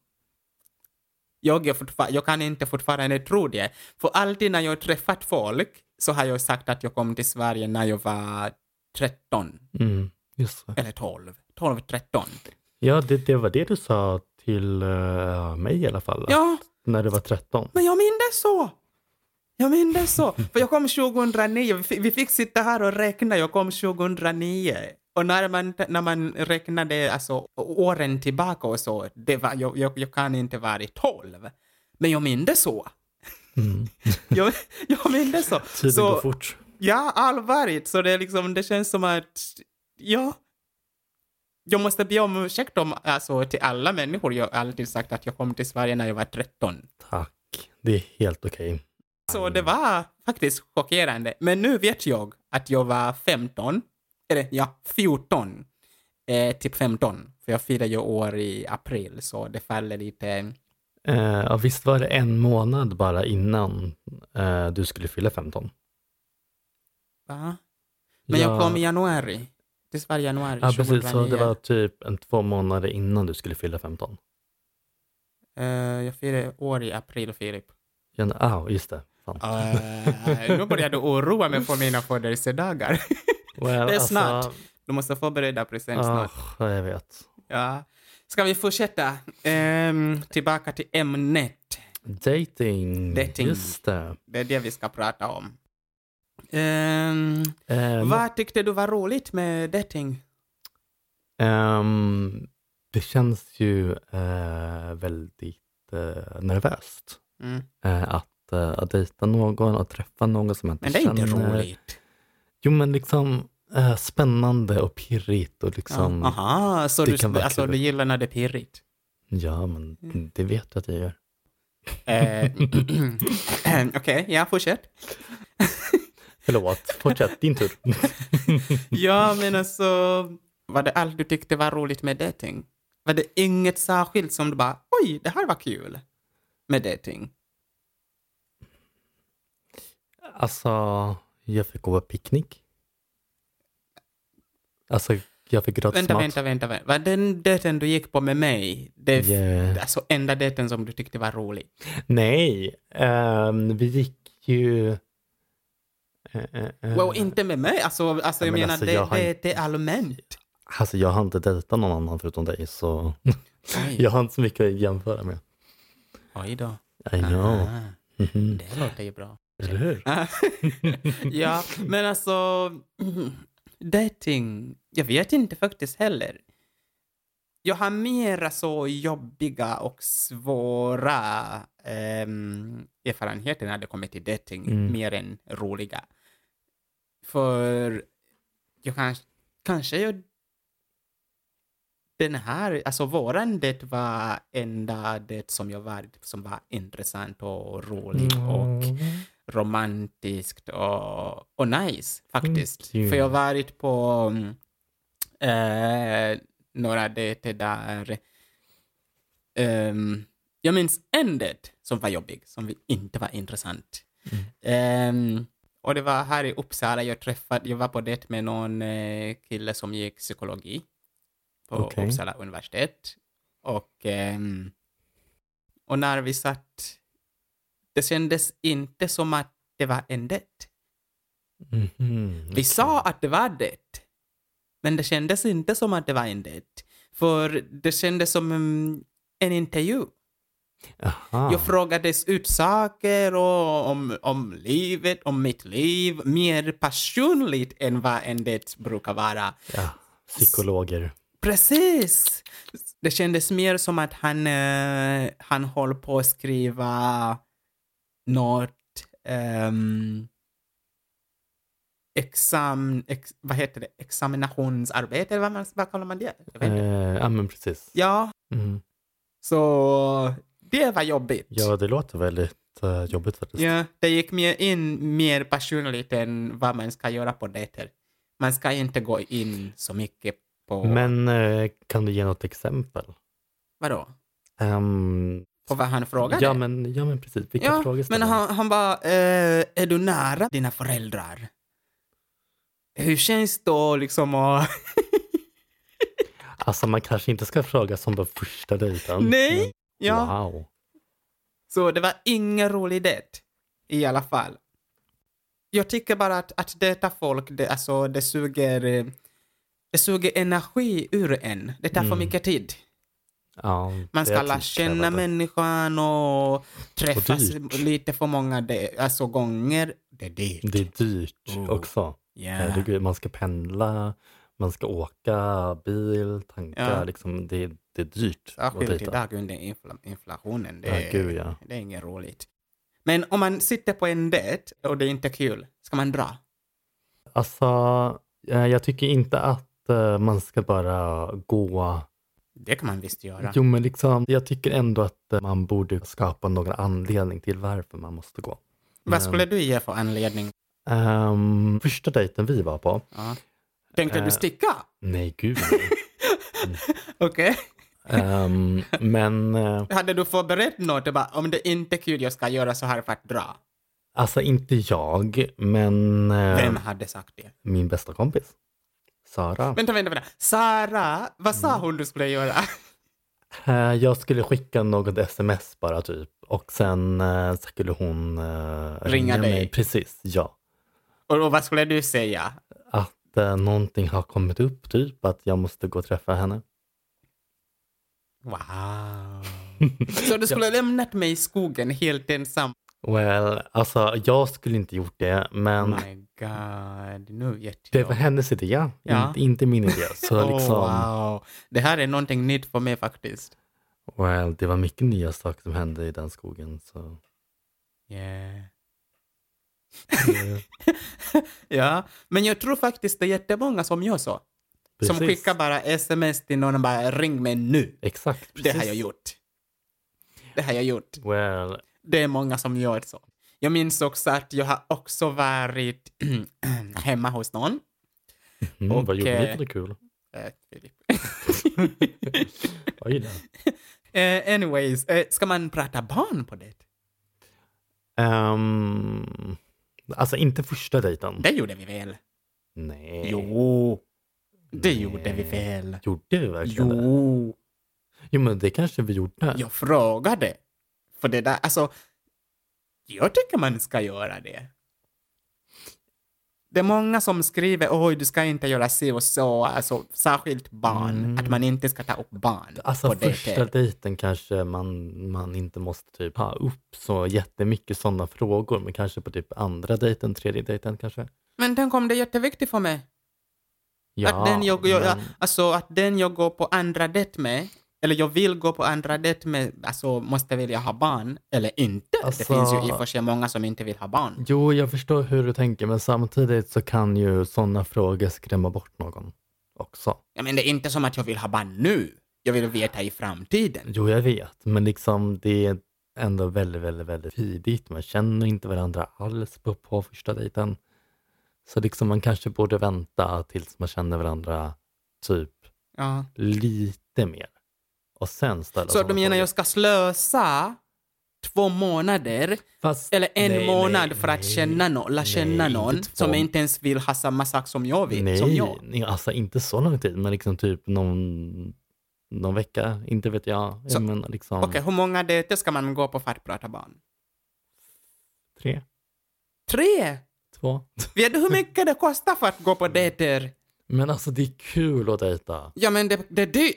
[SPEAKER 2] Jag, är fortfar- jag kan inte fortfarande tro det. För alltid när jag träffat folk så har jag sagt att jag kom till Sverige när jag var 13
[SPEAKER 1] Mm. Just det.
[SPEAKER 2] eller 12. 12, 13.
[SPEAKER 1] Ja, det, det var det du sa till eh, mig i alla fall.
[SPEAKER 2] Ja,
[SPEAKER 1] När du var 13.
[SPEAKER 2] men jag minns så. Jag minns så. För jag kom 2009. Vi fi- Vi fick sitta här och räkna. Jag kom 2009. Och när man, när man räknade alltså, åren tillbaka och så, det var, jag, jag, jag kan inte vara i 12. Men jag minns så.
[SPEAKER 1] Mm.
[SPEAKER 2] Jag, jag minns så.
[SPEAKER 1] Tiden går
[SPEAKER 2] så
[SPEAKER 1] fort.
[SPEAKER 2] Ja, allvarligt. Så det, är liksom, det känns som att, ja. Jag måste be om ursäkt om, alltså, till alla människor. Jag har alltid sagt att jag kom till Sverige när jag var 13.
[SPEAKER 1] Tack. Det är helt okej.
[SPEAKER 2] Så det var faktiskt chockerande. Men nu vet jag att jag var 15, eller ja, 14. Eh, typ 15. För jag firar ju år i april, så det faller lite...
[SPEAKER 1] Eh, ja, visst var det en månad bara innan eh, du skulle fylla 15?
[SPEAKER 2] Va? Men jag
[SPEAKER 1] Ja.
[SPEAKER 2] kom i januari. Till Sverige i januari
[SPEAKER 1] Ja, precis. Så det
[SPEAKER 2] 2009.
[SPEAKER 1] var typ en två månader innan du skulle fylla 15.
[SPEAKER 2] Eh, jag firar år i april, Filip.
[SPEAKER 1] Ja, ah, just det. Fan.
[SPEAKER 2] Eh, nu börjar du oroa mig för mina födelsedagar.
[SPEAKER 1] Well, alltså,
[SPEAKER 2] det är snart. Du måste förbereda present
[SPEAKER 1] Ah,
[SPEAKER 2] snart.
[SPEAKER 1] jag vet.
[SPEAKER 2] Ja. Ska vi fortsätta? Ehm, tillbaka till ämnet.
[SPEAKER 1] Dating.
[SPEAKER 2] Dating.
[SPEAKER 1] Just det.
[SPEAKER 2] Det är det vi ska prata om. Ehm,
[SPEAKER 1] Ehm,
[SPEAKER 2] vad tyckte du var roligt med dating?
[SPEAKER 1] ehm, Det känns ju eh, väldigt eh, nervöst
[SPEAKER 2] Mm.
[SPEAKER 1] eh, att, eh, att dejta någon och träffa någon som eh, inte
[SPEAKER 2] Men det är inte
[SPEAKER 1] känner.
[SPEAKER 2] roligt.
[SPEAKER 1] Jo, men liksom eh, spännande och pirrigt och liksom.
[SPEAKER 2] Ja.
[SPEAKER 1] Ja,
[SPEAKER 2] Aha, så
[SPEAKER 1] Det
[SPEAKER 2] du,
[SPEAKER 1] kan vara
[SPEAKER 2] alltså,
[SPEAKER 1] kul.
[SPEAKER 2] du gillar när det är pirrigt?
[SPEAKER 1] men
[SPEAKER 2] Mm.
[SPEAKER 1] det vet jag att jag gör.
[SPEAKER 2] Eh, Okej, ja, fortsätt.
[SPEAKER 1] Förlåt, fortsätt din tur.
[SPEAKER 2] Ja, men alltså, var det allt du tyckte var roligt med dating? Var det inget särskilt som du bara, oj, det här var kul med dating?
[SPEAKER 1] Alltså, jag fick gå på picknick. Alltså, jag fick gratis
[SPEAKER 2] Vänta,
[SPEAKER 1] mat.
[SPEAKER 2] vänta, vänta, vänta. Var den dejten du gick på med mig, det f-
[SPEAKER 1] Yeah.
[SPEAKER 2] alltså enda dejten som du tyckte var rolig?
[SPEAKER 1] Nej, ehm, vi gick ju... eh, eh, eh.
[SPEAKER 2] Wow, inte med mig, alltså, alltså
[SPEAKER 1] Ja,
[SPEAKER 2] jag
[SPEAKER 1] men
[SPEAKER 2] menar,
[SPEAKER 1] alltså,
[SPEAKER 2] det,
[SPEAKER 1] jag har
[SPEAKER 2] det, det är allmänt.
[SPEAKER 1] Alltså jag har inte dejtat någon annan förutom dig så
[SPEAKER 2] Oj,
[SPEAKER 1] jag har inte så mycket att jämföra med.
[SPEAKER 2] oj då.
[SPEAKER 1] I know.
[SPEAKER 2] Ah,
[SPEAKER 1] Mhm.
[SPEAKER 2] det låter ju bra.
[SPEAKER 1] Eller hur?
[SPEAKER 2] ja, men alltså... mm, Dating, jag vet inte faktiskt heller. Jag har mera så jobbiga och svåra ehm, erfarenheter när det kommer till dating,
[SPEAKER 1] Mm.
[SPEAKER 2] mer än roliga. För jag kanske, kanske jag... Den här, alltså våran det var enda det som jag varit som var intressant och rolig
[SPEAKER 1] Mm.
[SPEAKER 2] och romantiskt och, och nice faktiskt.
[SPEAKER 1] Mm, kul.
[SPEAKER 2] För jag har varit på mm, eh, några dejter där. ehm, jag minns en dejt som var jobbig, som vi- inte var intressant. Ehm, Mm. och det var här i Uppsala jag träffade, jag var på dejt med någon eh, kille som gick psykologi på
[SPEAKER 1] Okej.
[SPEAKER 2] Uppsala universitet. Och, ehm, och när vi satt, det kändes inte som att det var en dejt.
[SPEAKER 1] Mhm.
[SPEAKER 2] Vi sa att det var det, men det kändes inte som att det var en dejt. För det kändes som mm, en intervju.
[SPEAKER 1] Aha.
[SPEAKER 2] Jag frågades ut saker och om, om livet, om mitt liv, mer personligt än vad en dejt brukar vara.
[SPEAKER 1] ja. Psykologer.
[SPEAKER 2] Precis! Det kändes mer som att han, eh, han håller på att skriva något ehm, exam, ex, vad heter det? examinationsarbete, eller vad, man, vad kallar man det? Jag vet
[SPEAKER 1] Eh,
[SPEAKER 2] inte.
[SPEAKER 1] ja men precis.
[SPEAKER 2] Ja,
[SPEAKER 1] Mm.
[SPEAKER 2] så det var jobbigt.
[SPEAKER 1] Ja det låter väldigt eh, jobbigt faktiskt.
[SPEAKER 2] Ja, det gick mer in mer personligt än vad man ska göra på dejter. Man ska inte gå in så mycket på...
[SPEAKER 1] Men eh, kan du ge något exempel?
[SPEAKER 2] Vadå?
[SPEAKER 1] Ehm,
[SPEAKER 2] På vad han frågade?
[SPEAKER 1] ja, men, ja men precis, vilka
[SPEAKER 2] Ja,
[SPEAKER 1] frågor
[SPEAKER 2] men
[SPEAKER 1] ställer
[SPEAKER 2] han, han bara, eh, är du nära dina föräldrar? Hur känns det då liksom att...
[SPEAKER 1] Alltså man kanske inte ska fråga som på första dejten.
[SPEAKER 2] Nej!
[SPEAKER 1] Men,
[SPEAKER 2] Ja.
[SPEAKER 1] Wow.
[SPEAKER 2] Så det var ingen rolig dejt i alla fall. Jag tycker bara att, att dejta folk, det, alltså, det, suger, eh, det suger energi ur en. Det tar för
[SPEAKER 1] Mm.
[SPEAKER 2] mycket tid.
[SPEAKER 1] Ja,
[SPEAKER 2] Man
[SPEAKER 1] det
[SPEAKER 2] ska
[SPEAKER 1] är typ
[SPEAKER 2] lära känna
[SPEAKER 1] tidskrävande.
[SPEAKER 2] människan och träffas
[SPEAKER 1] dyrt.
[SPEAKER 2] lite för många de- alltså, gånger. Det är dyrt.
[SPEAKER 1] Det är dyrt
[SPEAKER 2] Oh.
[SPEAKER 1] också.
[SPEAKER 2] Ja.
[SPEAKER 1] Herregud, man ska pendla, man ska åka bil, tanka.
[SPEAKER 2] Ja.
[SPEAKER 1] Liksom, det, är- det är dyrt att
[SPEAKER 2] Särskilt
[SPEAKER 1] dejta.
[SPEAKER 2] idag under infla- inflationen. Det,
[SPEAKER 1] Ja, gud ja.
[SPEAKER 2] det är inget roligt. Men om man sitter på en dejt och det är inte kul, ska man dra?
[SPEAKER 1] Alltså, eh, jag tycker inte att eh, man ska bara gå.
[SPEAKER 2] Det kan man visst göra.
[SPEAKER 1] Jo, men liksom, jag tycker ändå att eh, man borde skapa någon anledning till varför man måste gå.
[SPEAKER 2] Vad skulle du ge för anledning?
[SPEAKER 1] Ehm, första dejten vi var på,
[SPEAKER 2] Ja. Tänkte du
[SPEAKER 1] Eh.
[SPEAKER 2] sticka?
[SPEAKER 1] nej gud.
[SPEAKER 2] Okej.
[SPEAKER 1] Ehm, men eh,
[SPEAKER 2] Hade du förberett något? Det Bara, om det inte är kul, jag ska göra så här för att dra.
[SPEAKER 1] alltså inte jag, men eh,
[SPEAKER 2] Vem hade sagt det?
[SPEAKER 1] min bästa kompis. Sara.
[SPEAKER 2] Vänta, vänta, vänta. Sara, vad
[SPEAKER 1] Mm.
[SPEAKER 2] sa hon du skulle göra?
[SPEAKER 1] Eh, Jag skulle skicka något sms bara typ och sen eh, skulle hon eh,
[SPEAKER 2] Ringa dig.
[SPEAKER 1] mig. Precis, ja.
[SPEAKER 2] Och, och vad skulle du säga?
[SPEAKER 1] Att eh, någonting har kommit upp, typ att jag måste gå och träffa henne.
[SPEAKER 2] Wow. så du skulle ha lämnat mig i skogen helt ensam?
[SPEAKER 1] Well, alltså jag skulle inte gjort det, men
[SPEAKER 2] Oh My God, nu get
[SPEAKER 1] det var hennes idé,
[SPEAKER 2] Ja. Oh,
[SPEAKER 1] inte, inte min idé. Så liksom,
[SPEAKER 2] wow. Det här är någonting nytt för mig faktiskt.
[SPEAKER 1] well, det var mycket nya saker som hände i den skogen. Så.
[SPEAKER 2] Yeah. ja, men jag tror faktiskt det är jättemånga som gör så. Som
[SPEAKER 1] Precis.
[SPEAKER 2] skickar bara sms till någon och bara ring mig nu.
[SPEAKER 1] Exakt.
[SPEAKER 2] Det har jag gjort. Det har jag gjort.
[SPEAKER 1] Well,
[SPEAKER 2] Det är många som gör så. Jag minns också att jag har också varit hemma hos någon.
[SPEAKER 1] mm, vad gjorde ni
[SPEAKER 2] eh,
[SPEAKER 1] för det kul?
[SPEAKER 2] Eh, Filip.
[SPEAKER 1] Oj då.
[SPEAKER 2] Eh, anyways, eh, ska man prata barn på det?
[SPEAKER 1] Ehm, alltså inte första dejten.
[SPEAKER 2] Det gjorde vi väl?
[SPEAKER 1] Nej.
[SPEAKER 2] Jo. Det
[SPEAKER 1] Eh. Nej.
[SPEAKER 2] gjorde vi väl?
[SPEAKER 1] Gjorde vi verkligen det?
[SPEAKER 2] Jo.
[SPEAKER 1] Jo, men det kanske vi gjorde.
[SPEAKER 2] Jag frågade. För det där, alltså. Jag tycker man ska göra det. Det är många som skriver oj, du ska inte göra si och så, alltså särskilt barn, att man inte ska ta upp barn
[SPEAKER 1] Mm. Alltså
[SPEAKER 2] på dejter.
[SPEAKER 1] första dejten kanske man, man inte måste typ ha upp så jättemycket sådana frågor, men kanske på typ andra dejten, tredje dejten kanske.
[SPEAKER 2] Men den kom det är jätteviktigt för mig. att, den jag, jag,
[SPEAKER 1] men-
[SPEAKER 2] alltså, att den jag går på andra dejt med, eller jag vill gå på andra dejt med, alltså måste väl jag ha barn eller inte?
[SPEAKER 1] Alltså-
[SPEAKER 2] Det finns ju i och för sig många som inte vill ha barn.
[SPEAKER 1] Jo, jag förstår hur du tänker, men samtidigt så kan ju sådana frågor skrämma bort någon också.
[SPEAKER 2] Ja, men det är inte som att jag vill ha barn nu. Jag vill veta i framtiden.
[SPEAKER 1] Jo, jag vet, men liksom det är ändå väldigt, väldigt, väldigt tidigt. Man känner inte varandra alls på, på första dejten. Så liksom man kanske borde vänta tills man känner varandra typ
[SPEAKER 2] Ja.
[SPEAKER 1] lite mer. Och sen ställa
[SPEAKER 2] Så
[SPEAKER 1] sådana
[SPEAKER 2] du menar
[SPEAKER 1] frågor.
[SPEAKER 2] jag ska slösa två månader
[SPEAKER 1] Fast,
[SPEAKER 2] eller en
[SPEAKER 1] nej,
[SPEAKER 2] månad
[SPEAKER 1] nej,
[SPEAKER 2] för att
[SPEAKER 1] nej.
[SPEAKER 2] känna, no- lära känna
[SPEAKER 1] Nej,
[SPEAKER 2] någon
[SPEAKER 1] inte två.
[SPEAKER 2] som inte ens vill ha samma sak som jag vill?
[SPEAKER 1] Nej,
[SPEAKER 2] Som jag.
[SPEAKER 1] nej, alltså inte så lång tid, men liksom typ någon, någon vecka, inte vet jag.
[SPEAKER 2] Så-
[SPEAKER 1] jag menar liksom
[SPEAKER 2] Okej, hur många dejter ska man gå på för att prata barn?
[SPEAKER 1] tre,
[SPEAKER 2] Tre!
[SPEAKER 1] två.
[SPEAKER 2] Vet du hur mycket det kostar för att gå på dejter?
[SPEAKER 1] Men alltså det är kul att dejta.
[SPEAKER 2] Ja, men det, det är dyrt.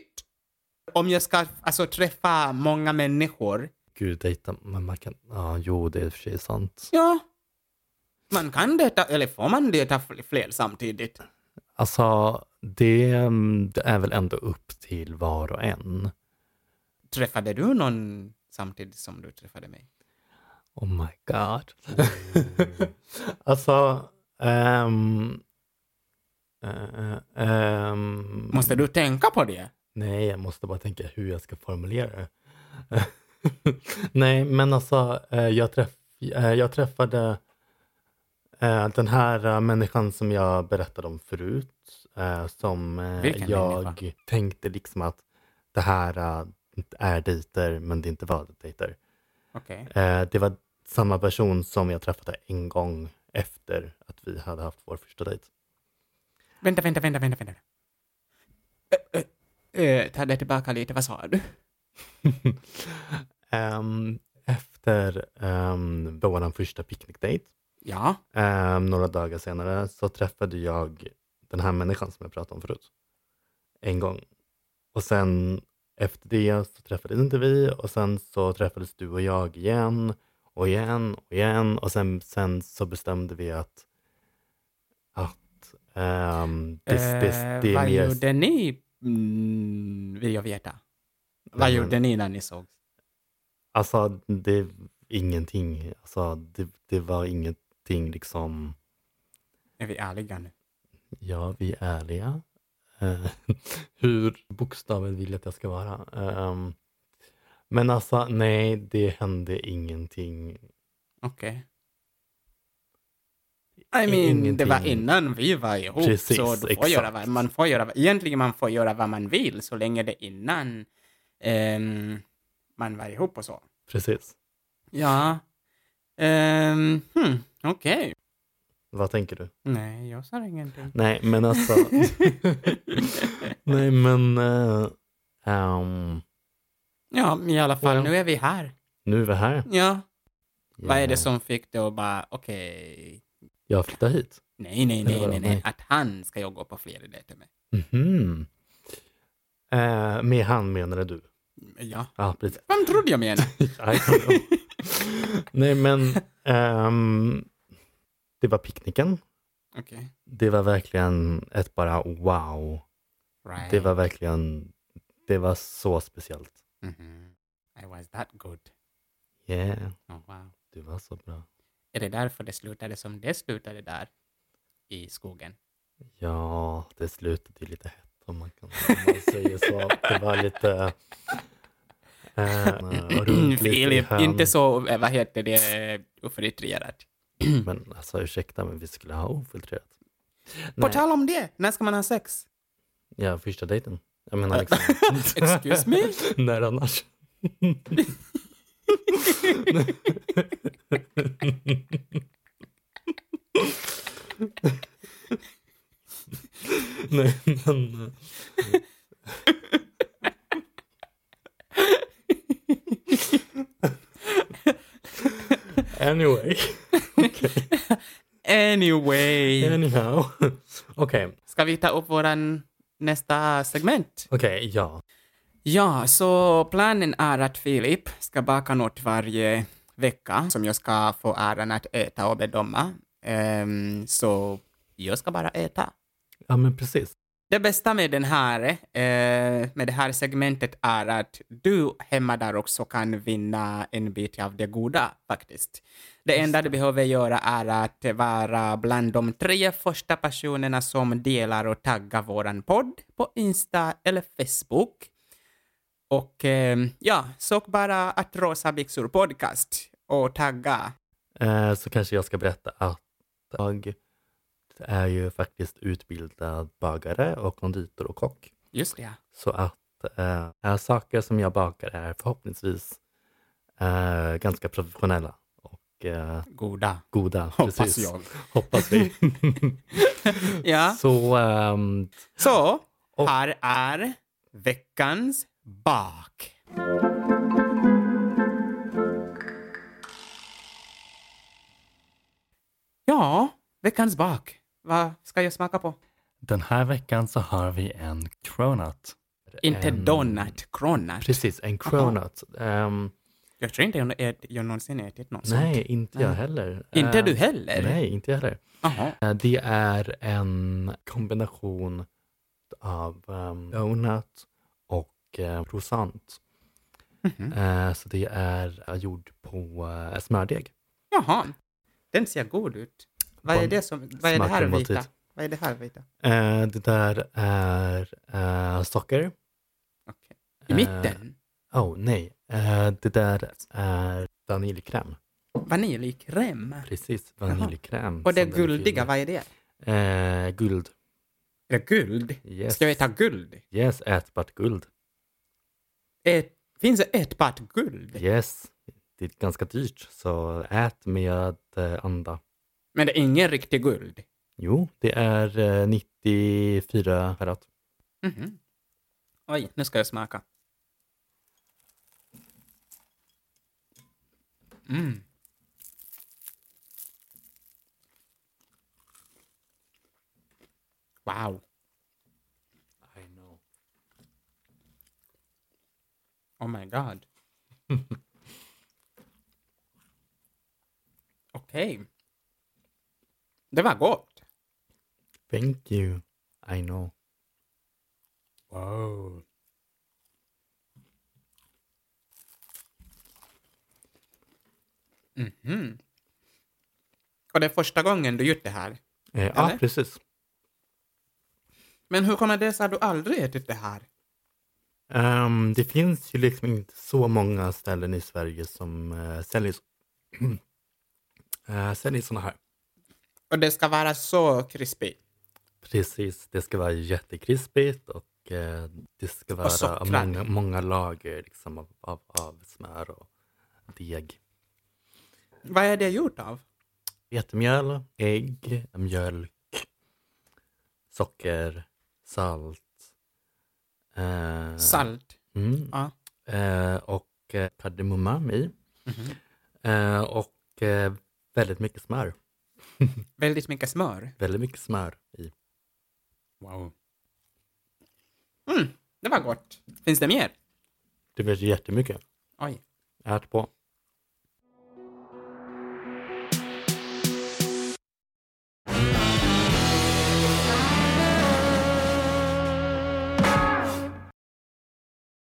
[SPEAKER 2] Om jag ska alltså, träffa många människor,
[SPEAKER 1] Gud, dejta, men man kan, ja jo det är i och för sig sant.
[SPEAKER 2] ja. Man kan dejta, eller får man dejta fl- fler samtidigt?
[SPEAKER 1] Alltså det, mm, det är väl ändå upp till var och en.
[SPEAKER 2] Träffade du någon samtidigt som du träffade mig?
[SPEAKER 1] Oh my god. alltså, ehm, eh, ehm,
[SPEAKER 2] Måste du tänka på det?
[SPEAKER 1] Nej, jag måste bara tänka hur jag ska formulera det. Nej, men alltså eh, jag, träff, eh, jag träffade eh, den här eh, människan som jag berättade om förut. eh, Som eh,
[SPEAKER 2] Vilken
[SPEAKER 1] jag
[SPEAKER 2] människa?
[SPEAKER 1] tänkte liksom att det här eh, är dejter, men det inte var dejter.
[SPEAKER 2] Okej.
[SPEAKER 1] Eh, Det var samma person som jag träffade en gång efter att vi hade haft vår första dejt.
[SPEAKER 2] Vänta, vänta, vänta, vänta, vänta. Ö, ö, ö, ta det tillbaka lite, vad sa du?
[SPEAKER 1] Ehm, efter um, vår första picknickdejt,
[SPEAKER 2] Ja,
[SPEAKER 1] ehm, några dagar senare, så träffade jag den här människan som jag pratade om förut. En gång. Och sen efter det så träffades inte vi och sen så träffades du och jag igen och igen och igen och sen, sen så bestämde vi att, att ehm, det, det,
[SPEAKER 2] Eh,
[SPEAKER 1] det är
[SPEAKER 2] vad
[SPEAKER 1] mer
[SPEAKER 2] gjorde ni? Mm, vill jag veta. Vad
[SPEAKER 1] men-
[SPEAKER 2] gjorde ni när ni såg?
[SPEAKER 1] Alltså, det är ingenting. Alltså, det, det var ingenting liksom,
[SPEAKER 2] Är vi ärliga nu?
[SPEAKER 1] ja, vi är ärliga. Eh, Hur bokstaven vill att jag ska vara. Ehm, men alltså, nej, det hände ingenting.
[SPEAKER 2] Okej. I mean, det var
[SPEAKER 1] Ingenting.
[SPEAKER 2] innan vi var ihop.
[SPEAKER 1] Precis,
[SPEAKER 2] så du får
[SPEAKER 1] exakt.
[SPEAKER 2] göra vad, man får göra, vad- egentligen man får göra vad man vill så länge det är innan ehm, man var ihop och så.
[SPEAKER 1] Precis.
[SPEAKER 2] Ja. Um, hmm, Okej.
[SPEAKER 1] Vad tänker du?
[SPEAKER 2] Nej, jag sa ingenting.
[SPEAKER 1] Nej, men alltså. nej, men. eh, ehm,
[SPEAKER 2] Ja, men i alla fall,
[SPEAKER 1] Well.
[SPEAKER 2] nu är vi här.
[SPEAKER 1] nu är vi här.
[SPEAKER 2] Ja. Vad är det
[SPEAKER 1] Jag-
[SPEAKER 2] som fick dig att bara, okej,
[SPEAKER 1] Jag flyttar hit.
[SPEAKER 2] nej, nej,
[SPEAKER 1] Eller
[SPEAKER 2] nej,
[SPEAKER 1] vadå?
[SPEAKER 2] nej, nej,
[SPEAKER 1] Nej.
[SPEAKER 2] att han ska jag gå på fler dejter med.
[SPEAKER 1] Mhm. Eh, med han menade du.
[SPEAKER 2] Ja.
[SPEAKER 1] Ja, precis.
[SPEAKER 2] Vem trodde jag menade?
[SPEAKER 1] I don't know. Nej, men ehm, det var picknicken.
[SPEAKER 2] Okej.
[SPEAKER 1] Det var verkligen ett bara wow.
[SPEAKER 2] Right.
[SPEAKER 1] Det var verkligen, det var så speciellt.
[SPEAKER 2] Mhm. I was that good.
[SPEAKER 1] Yeah,
[SPEAKER 2] Oh, wow.
[SPEAKER 1] det var så bra.
[SPEAKER 2] Är det därför det slutade som det slutade där? I skogen?
[SPEAKER 1] Ja, det slutade ju lite hett om man kan om man säger så. Det var lite... eh, runt lite i
[SPEAKER 2] Filip,
[SPEAKER 1] hörn.
[SPEAKER 2] Mm, inte så, eh, vad heter det, eh, ofiltrerad.
[SPEAKER 1] Men alltså ursäkta, men vi skulle ha ofiltrerat.
[SPEAKER 2] På
[SPEAKER 1] Nej,
[SPEAKER 2] tal om det, när ska man ha sex?
[SPEAKER 1] ja, första dejten. Jag menar liksom,
[SPEAKER 2] Excuse me?
[SPEAKER 1] när annars? Nej, men... eh, Anyway.
[SPEAKER 2] Anyway.
[SPEAKER 1] Anyhow. Okej, okej,
[SPEAKER 2] Ska vi ta upp våran nästa segment?
[SPEAKER 1] ja.
[SPEAKER 2] Ja, så planen är att Filip ska baka något varje vecka som jag ska få äran att äta och bedöma. Ehm, så jag ska bara äta.
[SPEAKER 1] Ja, men precis.
[SPEAKER 2] Det bästa med, den här, eh, med det här segmentet är att du hemma där också kan vinna en bit av det goda faktiskt. Det enda du behöver göra är att vara bland de tre första personerna som delar och taggar våran podd på Insta eller Facebook. Och eh, ja, sök bara att Rosa Byxor Podcast och tagga.
[SPEAKER 1] Eh, så kanske jag ska berätta att jag är ju faktiskt utbildad bagare och konditor och kock.
[SPEAKER 2] Just det.
[SPEAKER 1] Så att eh, saker som jag bakar är förhoppningsvis eh, ganska professionella och eh,
[SPEAKER 2] Goda.
[SPEAKER 1] goda.
[SPEAKER 2] Hoppas
[SPEAKER 1] Precis.
[SPEAKER 2] jag.
[SPEAKER 1] Hoppas vi.
[SPEAKER 2] Ja.
[SPEAKER 1] Så ehm,
[SPEAKER 2] Så,
[SPEAKER 1] Och-
[SPEAKER 2] här är veckans bak. Ja, veckans bak. Vad ska jag smaka på?
[SPEAKER 4] Den här veckan så har vi en cronut.
[SPEAKER 2] Inte
[SPEAKER 1] en-
[SPEAKER 2] donut, cronut.
[SPEAKER 1] Precis, en cronut. Ehm,
[SPEAKER 2] Jag tror inte jag, ät, jag någonsin ätit något
[SPEAKER 1] nej,
[SPEAKER 2] sånt.
[SPEAKER 1] inte jag heller.
[SPEAKER 2] Inte
[SPEAKER 1] Eh,
[SPEAKER 2] du heller?
[SPEAKER 1] Nej, inte jag heller.
[SPEAKER 2] Jaha.
[SPEAKER 1] Eh, Det är en kombination av um, donut och eh, croissant.
[SPEAKER 2] mhm. Mm.
[SPEAKER 1] Eh, så det är eh, gjord på eh, smördeg.
[SPEAKER 2] Jaha. Den ser god ut. Vad
[SPEAKER 1] På
[SPEAKER 2] är
[SPEAKER 1] en
[SPEAKER 2] det som... Vad är det här
[SPEAKER 1] smaklig
[SPEAKER 2] vita?
[SPEAKER 1] måltid.
[SPEAKER 2] Vad är det här vita?
[SPEAKER 1] Eh, det där är eh, socker.
[SPEAKER 2] Okej. I
[SPEAKER 1] Eh,
[SPEAKER 2] mitten?
[SPEAKER 1] Oh, nej. Eh, det där är vaniljkräm.
[SPEAKER 2] Vaniljkräm?
[SPEAKER 1] Precis, vaniljkräm.
[SPEAKER 2] Och det
[SPEAKER 1] som den
[SPEAKER 2] guldiga,
[SPEAKER 1] fyller.
[SPEAKER 2] vad är det?
[SPEAKER 1] Eh, guld.
[SPEAKER 2] Är det guld?
[SPEAKER 1] Yes.
[SPEAKER 2] Ska jag äta guld?
[SPEAKER 1] Yes, ätbart guld.
[SPEAKER 2] Ät, finns det ett part guld?
[SPEAKER 1] Yes. Det är ganska dyrt, så ät med eh, anda.
[SPEAKER 2] Men det är ingen riktig guld.
[SPEAKER 1] Jo, det är eh, 94 karat.
[SPEAKER 2] Mhm. Oj, nu ska jag smaka. Mm. Wow. Oh my god. Okej. Det var gott.
[SPEAKER 1] Thank you. I know.
[SPEAKER 2] Wow. Mhm. Och det är första gången du gjort det här.
[SPEAKER 1] Eh, ja,
[SPEAKER 2] Eller?
[SPEAKER 1] precis.
[SPEAKER 2] Men hur kommer det sig att du aldrig ätit det här?
[SPEAKER 1] Ehm, det finns ju liksom inte så många ställen i Sverige som eh, säljer, uh, säljer såna här.
[SPEAKER 2] Och det ska vara så krispigt.
[SPEAKER 1] Precis, det ska vara jättekrispigt och eh, det ska vara
[SPEAKER 2] sockrad.
[SPEAKER 1] många, många lager liksom, av, av, av smör och deg.
[SPEAKER 2] Vad är det gjort av?
[SPEAKER 1] Vetemjöl, ägg, mjölk, socker, salt. eh,
[SPEAKER 2] Salt.
[SPEAKER 1] Mm.
[SPEAKER 2] Ja.
[SPEAKER 1] Eh, och eh, kardemumma i.
[SPEAKER 2] Mhm.
[SPEAKER 1] Eh, och eh, väldigt mycket smör.
[SPEAKER 2] Väldigt mycket smör.
[SPEAKER 1] Väldigt mycket smör i.
[SPEAKER 2] Wow. Mm, det var gott. Finns det mer?
[SPEAKER 1] Det vet jag jättemycket.
[SPEAKER 2] Oj.
[SPEAKER 1] Ät på.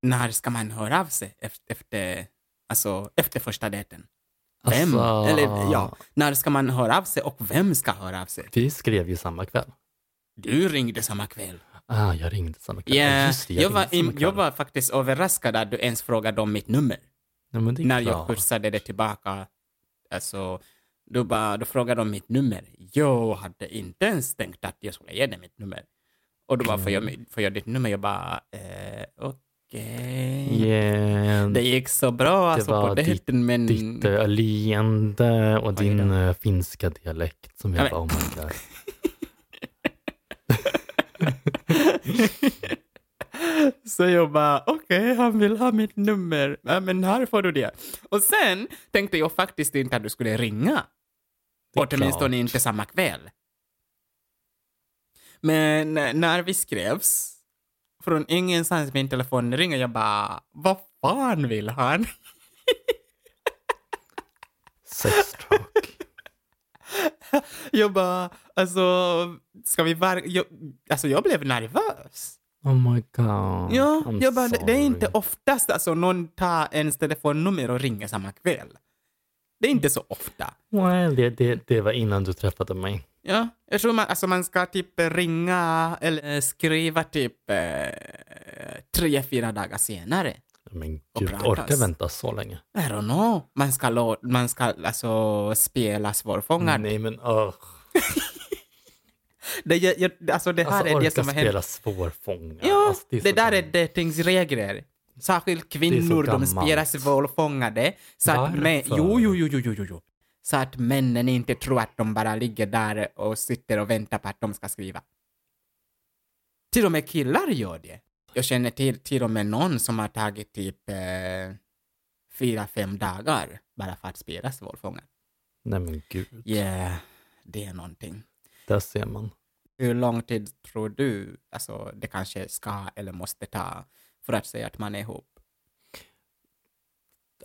[SPEAKER 2] När ska man höra av sig efter, efter, alltså, efter första dejten? Vem?
[SPEAKER 1] Alltså,
[SPEAKER 2] Eller ja, när ska man höra av sig och vem ska höra av sig?
[SPEAKER 1] Vi skrev ju samma kväll.
[SPEAKER 2] Du ringde samma kväll.
[SPEAKER 1] Ah, jag ringde samma kväll. Ja,
[SPEAKER 2] Ja,
[SPEAKER 1] Just det, jag,
[SPEAKER 2] jag,
[SPEAKER 1] ringde
[SPEAKER 2] var,
[SPEAKER 1] samma
[SPEAKER 2] im-
[SPEAKER 1] kväll.
[SPEAKER 2] jag var faktiskt överraskad att du ens frågade om mitt nummer.
[SPEAKER 1] ja, men det är
[SPEAKER 2] När
[SPEAKER 1] klart.
[SPEAKER 2] jag kursade det tillbaka, alltså, du, bara, du frågade om mitt nummer. Jag hade inte ens tänkt att jag skulle ge dig mitt nummer. Och du bara, får jag,
[SPEAKER 1] Mm.
[SPEAKER 2] mitt- får jag ditt nummer? Jag bara, eh, okej.
[SPEAKER 1] Yeah,
[SPEAKER 2] Det gick så bra alltså, på
[SPEAKER 1] var ditt-
[SPEAKER 2] dejten, men...
[SPEAKER 1] Ditt eh, leende och
[SPEAKER 2] Mm. Oj
[SPEAKER 1] din
[SPEAKER 2] då.
[SPEAKER 1] eh, finska dialekt som
[SPEAKER 2] Ja,
[SPEAKER 1] jag
[SPEAKER 2] men-
[SPEAKER 1] bara, oh my god.
[SPEAKER 2] Så jag bara, okej, han vill ha mitt nummer. Ja, men här får du det. Och sen tänkte jag faktiskt inte att du skulle ringa.
[SPEAKER 1] Det är
[SPEAKER 2] Åtminstone
[SPEAKER 1] klart.
[SPEAKER 2] inte samma kväll. Men när vi skrevs, från ingenstans min telefon ringer, jag bara, vad fan vill han?
[SPEAKER 1] Sex talk.
[SPEAKER 2] Jag bara, alltså, ska vi var... Jag, alltså jag blev nervös.
[SPEAKER 1] Oh my god.
[SPEAKER 2] Ja,
[SPEAKER 1] I'm
[SPEAKER 2] jag bara, det det är inte
[SPEAKER 1] sorry.
[SPEAKER 2] oftast alltså någon tar ens telefonnummer och ringer samma kväll. Det är inte så ofta.
[SPEAKER 1] Well, det, det, det var innan du träffade mig.
[SPEAKER 2] Ja, jag tror man, alltså man ska typ ringa eller eh, skriva typ eh, tre, fyra dagar senare.
[SPEAKER 1] Men
[SPEAKER 2] Och
[SPEAKER 1] gud,
[SPEAKER 2] pratas.
[SPEAKER 1] orkar vänta så länge?
[SPEAKER 2] I don't know. Man ska, lå- man ska alltså spela svårfångad.
[SPEAKER 1] Nej men öh.
[SPEAKER 2] Det, jag, jag, alltså det här
[SPEAKER 1] Alltså
[SPEAKER 2] är det
[SPEAKER 1] orka
[SPEAKER 2] som har hänt.
[SPEAKER 1] spela svårfångad.
[SPEAKER 2] Ja,
[SPEAKER 1] alltså,
[SPEAKER 2] det,
[SPEAKER 1] är så
[SPEAKER 2] där är
[SPEAKER 1] gammalt.
[SPEAKER 2] datingsregler. Särskilt kvinnor, de
[SPEAKER 1] gammalt.
[SPEAKER 2] spelar svårfångade. Så att män,
[SPEAKER 1] Varför?
[SPEAKER 2] jo, jo, jo, jo, jo, jo, jo. Så att männen inte tror att de bara ligger där och sitter och väntar på att de ska skriva. Till och med killar gör det. Jag känner till, till och med någon som har tagit typ eh, fyra, fem dagar bara för att spela svårfångad.
[SPEAKER 1] Nej men gud,
[SPEAKER 2] Yeah, det är någonting.
[SPEAKER 1] där ser man.
[SPEAKER 2] Hur lång tid tror du alltså, det kanske ska eller måste ta för att säga att man är ihop?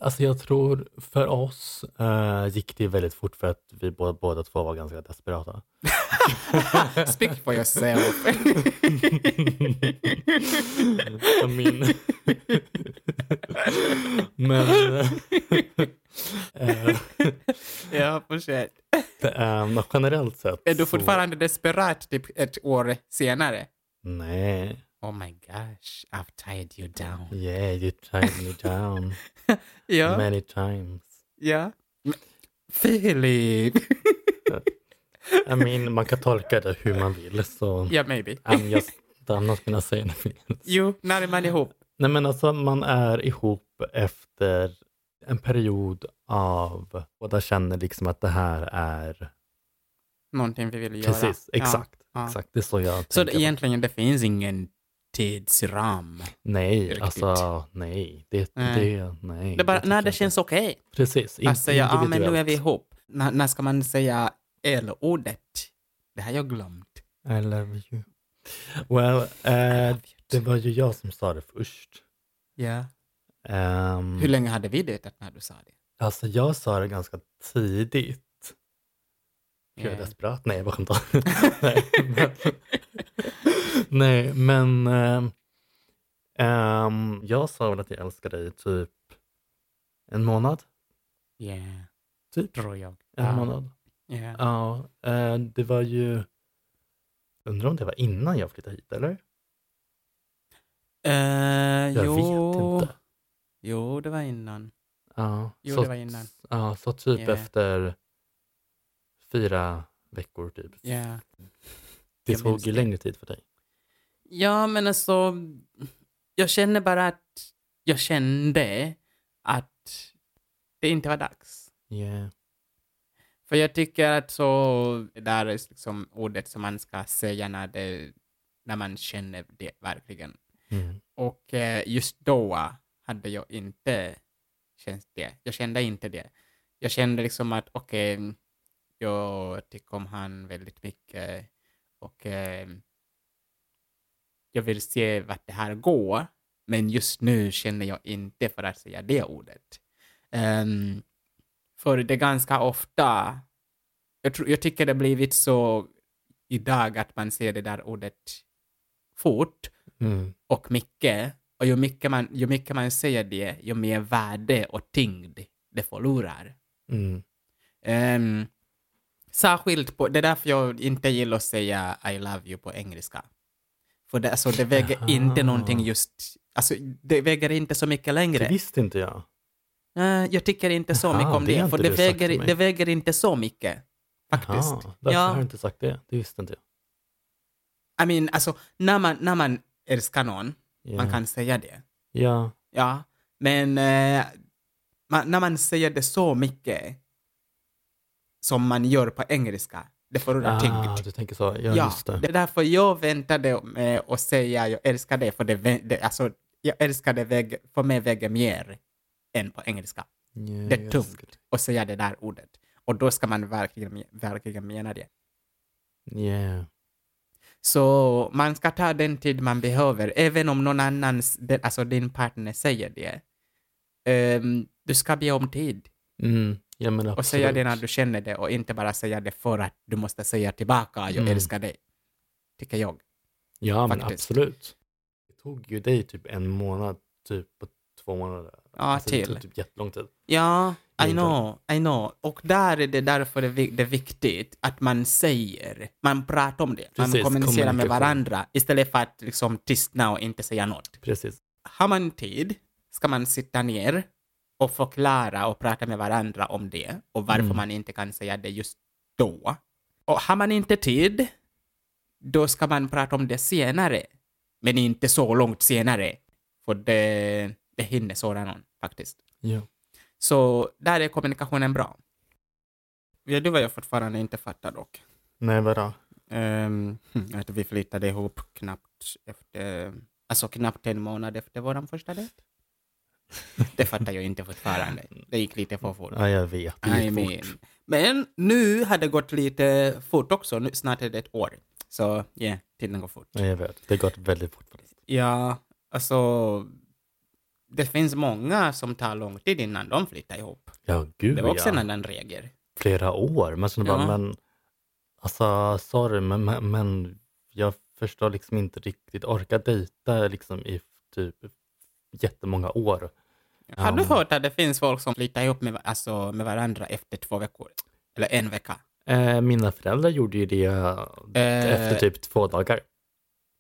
[SPEAKER 1] Alltså jag tror för oss eh, gick det väldigt fort för att vi båda, båda två var ganska desperata.
[SPEAKER 2] Speak for yourself.
[SPEAKER 1] Så Min... men eh,
[SPEAKER 2] ja, fortsätt.
[SPEAKER 1] det är nog generellt sett
[SPEAKER 2] Är du
[SPEAKER 1] så-
[SPEAKER 2] fortfarande desperat typ ett år senare?
[SPEAKER 1] Nej,
[SPEAKER 2] Oh my gosh, I've tied you down.
[SPEAKER 1] yeah you tied me down
[SPEAKER 2] Ja,
[SPEAKER 1] many times.
[SPEAKER 2] ja. Filip!
[SPEAKER 1] I mean, man kan tolka det hur man vill så
[SPEAKER 2] Ja, maybe.
[SPEAKER 1] I'm just, I'm not gonna say anything.
[SPEAKER 2] Jo, när är man ihop?
[SPEAKER 1] Nej men alltså man är ihop efter en period av båda känner liksom att det här är
[SPEAKER 2] Någonting vi vill göra.
[SPEAKER 1] precis, exakt.
[SPEAKER 2] ja.
[SPEAKER 1] exakt. Det är så jag
[SPEAKER 2] Så
[SPEAKER 1] tänker.
[SPEAKER 2] det, egentligen det finns ingen tidsram.
[SPEAKER 1] nej,
[SPEAKER 2] riktigt.
[SPEAKER 1] alltså nej. Det,
[SPEAKER 2] Nej.
[SPEAKER 1] det, nej.
[SPEAKER 2] Det är bara
[SPEAKER 1] tycker
[SPEAKER 2] när
[SPEAKER 1] jag
[SPEAKER 2] det
[SPEAKER 1] inte.
[SPEAKER 2] känns okej.
[SPEAKER 1] Precis, in,
[SPEAKER 2] Att säga, ja ah, men nu är vi
[SPEAKER 1] individuellt.
[SPEAKER 2] ihop. När- när ska man säga L-ordet? Det har jag glömt.
[SPEAKER 1] I love you. Well, eh, det var ju jag som sa det först.
[SPEAKER 2] Ja.
[SPEAKER 1] Ehm,
[SPEAKER 2] Hur länge hade vi dejtat när du sa det?
[SPEAKER 1] alltså jag sa det ganska tidigt. Gud, alltså. jag är
[SPEAKER 2] Ja.
[SPEAKER 1] desperat. Nej, jag bara skämtar. Nej, men, nej, men ehm, ehm, jag sa väl att jag älskar dig i typ en månad.
[SPEAKER 2] Ja,
[SPEAKER 1] Typ
[SPEAKER 2] tror jag.
[SPEAKER 1] en
[SPEAKER 2] Ja.
[SPEAKER 1] månad.
[SPEAKER 2] Ja.
[SPEAKER 1] Ja, eh, det var ju... Undrar om det var innan jag flyttade hit, eller?
[SPEAKER 2] Eh,
[SPEAKER 1] Jag
[SPEAKER 2] jo.
[SPEAKER 1] vet inte.
[SPEAKER 2] Jo, det var innan.
[SPEAKER 1] Ja,
[SPEAKER 2] Jo,
[SPEAKER 1] så,
[SPEAKER 2] det var innan.
[SPEAKER 1] Ja, så typ
[SPEAKER 2] Ja.
[SPEAKER 1] efter fyra veckor typ.
[SPEAKER 2] Ja.
[SPEAKER 1] Det
[SPEAKER 2] jag
[SPEAKER 1] tog
[SPEAKER 2] minns
[SPEAKER 1] ju
[SPEAKER 2] det.
[SPEAKER 1] längre tid för dig.
[SPEAKER 2] ja, men alltså, jag känner bara att jag kände att det inte var dags.
[SPEAKER 1] Yeah.
[SPEAKER 2] För jag tycker att så, det där är liksom ordet som man ska säga när, det, när man känner det verkligen.
[SPEAKER 1] Mm.
[SPEAKER 2] Och eh, just då hade jag inte känt det. Jag kände inte det. Jag kände liksom att okej, jag tycker om han väldigt mycket och eh, jag vill se vart det här går. Men just nu känner jag inte för att säga det ordet. Ehm, för det är ganska ofta, jag, tror, jag tycker det har blivit så idag att man ser det där ordet fort
[SPEAKER 1] Mm.
[SPEAKER 2] och mycket. Och ju mycket man, ju mycket man säger det, ju mer värde och tyngd det förlorar.
[SPEAKER 1] Mm.
[SPEAKER 2] Um, särskilt på, det är därför jag inte gillar att säga I love you på engelska. För det, alltså, det väger
[SPEAKER 1] Jaha.
[SPEAKER 2] inte någonting just, alltså det väger inte så mycket
[SPEAKER 1] Det
[SPEAKER 2] längre.
[SPEAKER 1] visste inte jag.
[SPEAKER 2] Nej, jag tycker inte så
[SPEAKER 1] Jaha,
[SPEAKER 2] mycket om
[SPEAKER 1] det
[SPEAKER 2] det,
[SPEAKER 1] har
[SPEAKER 2] för
[SPEAKER 1] inte
[SPEAKER 2] det
[SPEAKER 1] du sagt
[SPEAKER 2] väger,
[SPEAKER 1] till mig.
[SPEAKER 2] det väger inte så mycket. Faktiskt.
[SPEAKER 1] Jaha, därför
[SPEAKER 2] Ja.
[SPEAKER 1] Ah, har jag inte sagt det. Det visste inte jag.
[SPEAKER 2] I mean, alltså när man, när man älskar någon,
[SPEAKER 1] Ja.
[SPEAKER 2] man kan säga det.
[SPEAKER 1] ja.
[SPEAKER 2] Ja, men eh, man, när man säger det så mycket som man gör på engelska, det förlorar
[SPEAKER 1] Ah,
[SPEAKER 2] tyngd.
[SPEAKER 1] du tänker så. Ja,
[SPEAKER 2] Ja,
[SPEAKER 1] just
[SPEAKER 2] det.
[SPEAKER 1] det.
[SPEAKER 2] är därför jag väntade med att säga jag älskar dig, för det, vä- det, alltså, jag älskar det väg, för mig väger mer än på engelska.
[SPEAKER 1] Ja,
[SPEAKER 2] Det är
[SPEAKER 1] jag ska-
[SPEAKER 2] tungt att säga det där ordet. Och då ska man verkligen, verkligen mena det.
[SPEAKER 1] Yeah.
[SPEAKER 2] Så man ska ta den tid man behöver, även om någon annans, den- alltså din partner säger det. Ehm, du ska be om tid
[SPEAKER 1] Mm. Ja, men absolut.
[SPEAKER 2] och säga det när du känner det och inte bara säga det för att du måste säga tillbaka, jag
[SPEAKER 1] Mm.
[SPEAKER 2] älskar dig. Tycker jag.
[SPEAKER 1] Ja, men
[SPEAKER 2] Faktiskt.
[SPEAKER 1] absolut. Det tog ju dig typ en månad, typ på två månader.
[SPEAKER 2] Ja,
[SPEAKER 1] Det
[SPEAKER 2] till.
[SPEAKER 1] tog typ jättelång tid.
[SPEAKER 2] Ja, I
[SPEAKER 1] Inte.
[SPEAKER 2] know, I know. Och där är det därför det vi- det är viktigt att man säger, man pratar om det, man
[SPEAKER 1] Precis,
[SPEAKER 2] kommunicerar med
[SPEAKER 1] kommunikation.
[SPEAKER 2] varandra istället för att liksom tystna och inte säga något.
[SPEAKER 1] Precis.
[SPEAKER 2] Har man tid ska man sitta ner och förklara och prata med varandra om det och varför
[SPEAKER 1] Mm.
[SPEAKER 2] man inte kan säga det just då. Och har man inte tid, då ska man prata om det senare. Men inte så långt senare, för det, det hinner såra någon faktiskt.
[SPEAKER 1] Ja.
[SPEAKER 2] Så där är kommunikationen bra. Ja, det var jag fortfarande inte fattar dock.
[SPEAKER 1] Nej, vadå?
[SPEAKER 2] Ehm, hm, att vi flyttade ihop knappt efter, alltså knappt en månad efter vår första dejt. Det fattar jag inte fortfarande. Det gick lite för fort.
[SPEAKER 1] Ja, jag vet. Det
[SPEAKER 2] I
[SPEAKER 1] gick
[SPEAKER 2] mean.
[SPEAKER 1] fort.
[SPEAKER 2] Men nu har det gått lite fort också. Nu, snart är det ett år. Så yeah, tiden går fort.
[SPEAKER 1] Ja, jag vet. Det har gått väldigt fort faktiskt.
[SPEAKER 2] Ja, alltså. Det finns många som tar lång tid innan de flyttar ihop.
[SPEAKER 1] Ja, gud
[SPEAKER 2] Det var också
[SPEAKER 1] ja.
[SPEAKER 2] en annan regel.
[SPEAKER 1] Flera år. Man känner bara,
[SPEAKER 2] Ja.
[SPEAKER 1] men alltså sorry, men, men, men jag förstår liksom inte riktigt. Orka dejta liksom i typ jättemånga år.
[SPEAKER 2] Har du
[SPEAKER 1] Um,
[SPEAKER 2] hört att det finns folk som flyttar ihop med, va- alltså, med varandra efter två veckor? Eller en vecka?
[SPEAKER 1] Eh, mina föräldrar gjorde ju det
[SPEAKER 2] Eh.
[SPEAKER 1] efter typ två dagar.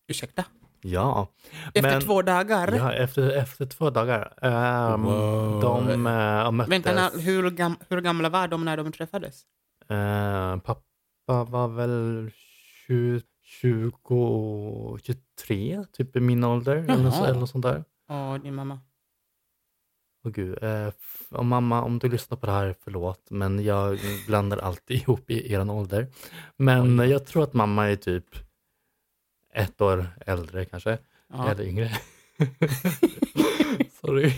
[SPEAKER 2] Ursäkta?
[SPEAKER 1] Ja.
[SPEAKER 2] Efter
[SPEAKER 1] Men-
[SPEAKER 2] två dagar?
[SPEAKER 1] Ja, efter, efter två dagar. Ehm,
[SPEAKER 2] Wow.
[SPEAKER 1] De eh, möttes.
[SPEAKER 2] Vänta, när, hur, gam, hur gamla var de när de träffades?
[SPEAKER 1] Eh, pappa var väl 20, 20, 23, typ i min ålder. Eller något, så-
[SPEAKER 2] Jaha.
[SPEAKER 1] eller något sånt där.
[SPEAKER 2] Ja, din mamma.
[SPEAKER 1] Åh gud. Eh, f- och mamma, om du lyssnar på det här, förlåt. Men jag blandar alltid ihop i eran ålder. Men eh, jag tror att mamma är typ ett år äldre kanske.
[SPEAKER 2] Ja.
[SPEAKER 1] Eller yngre. Sorry.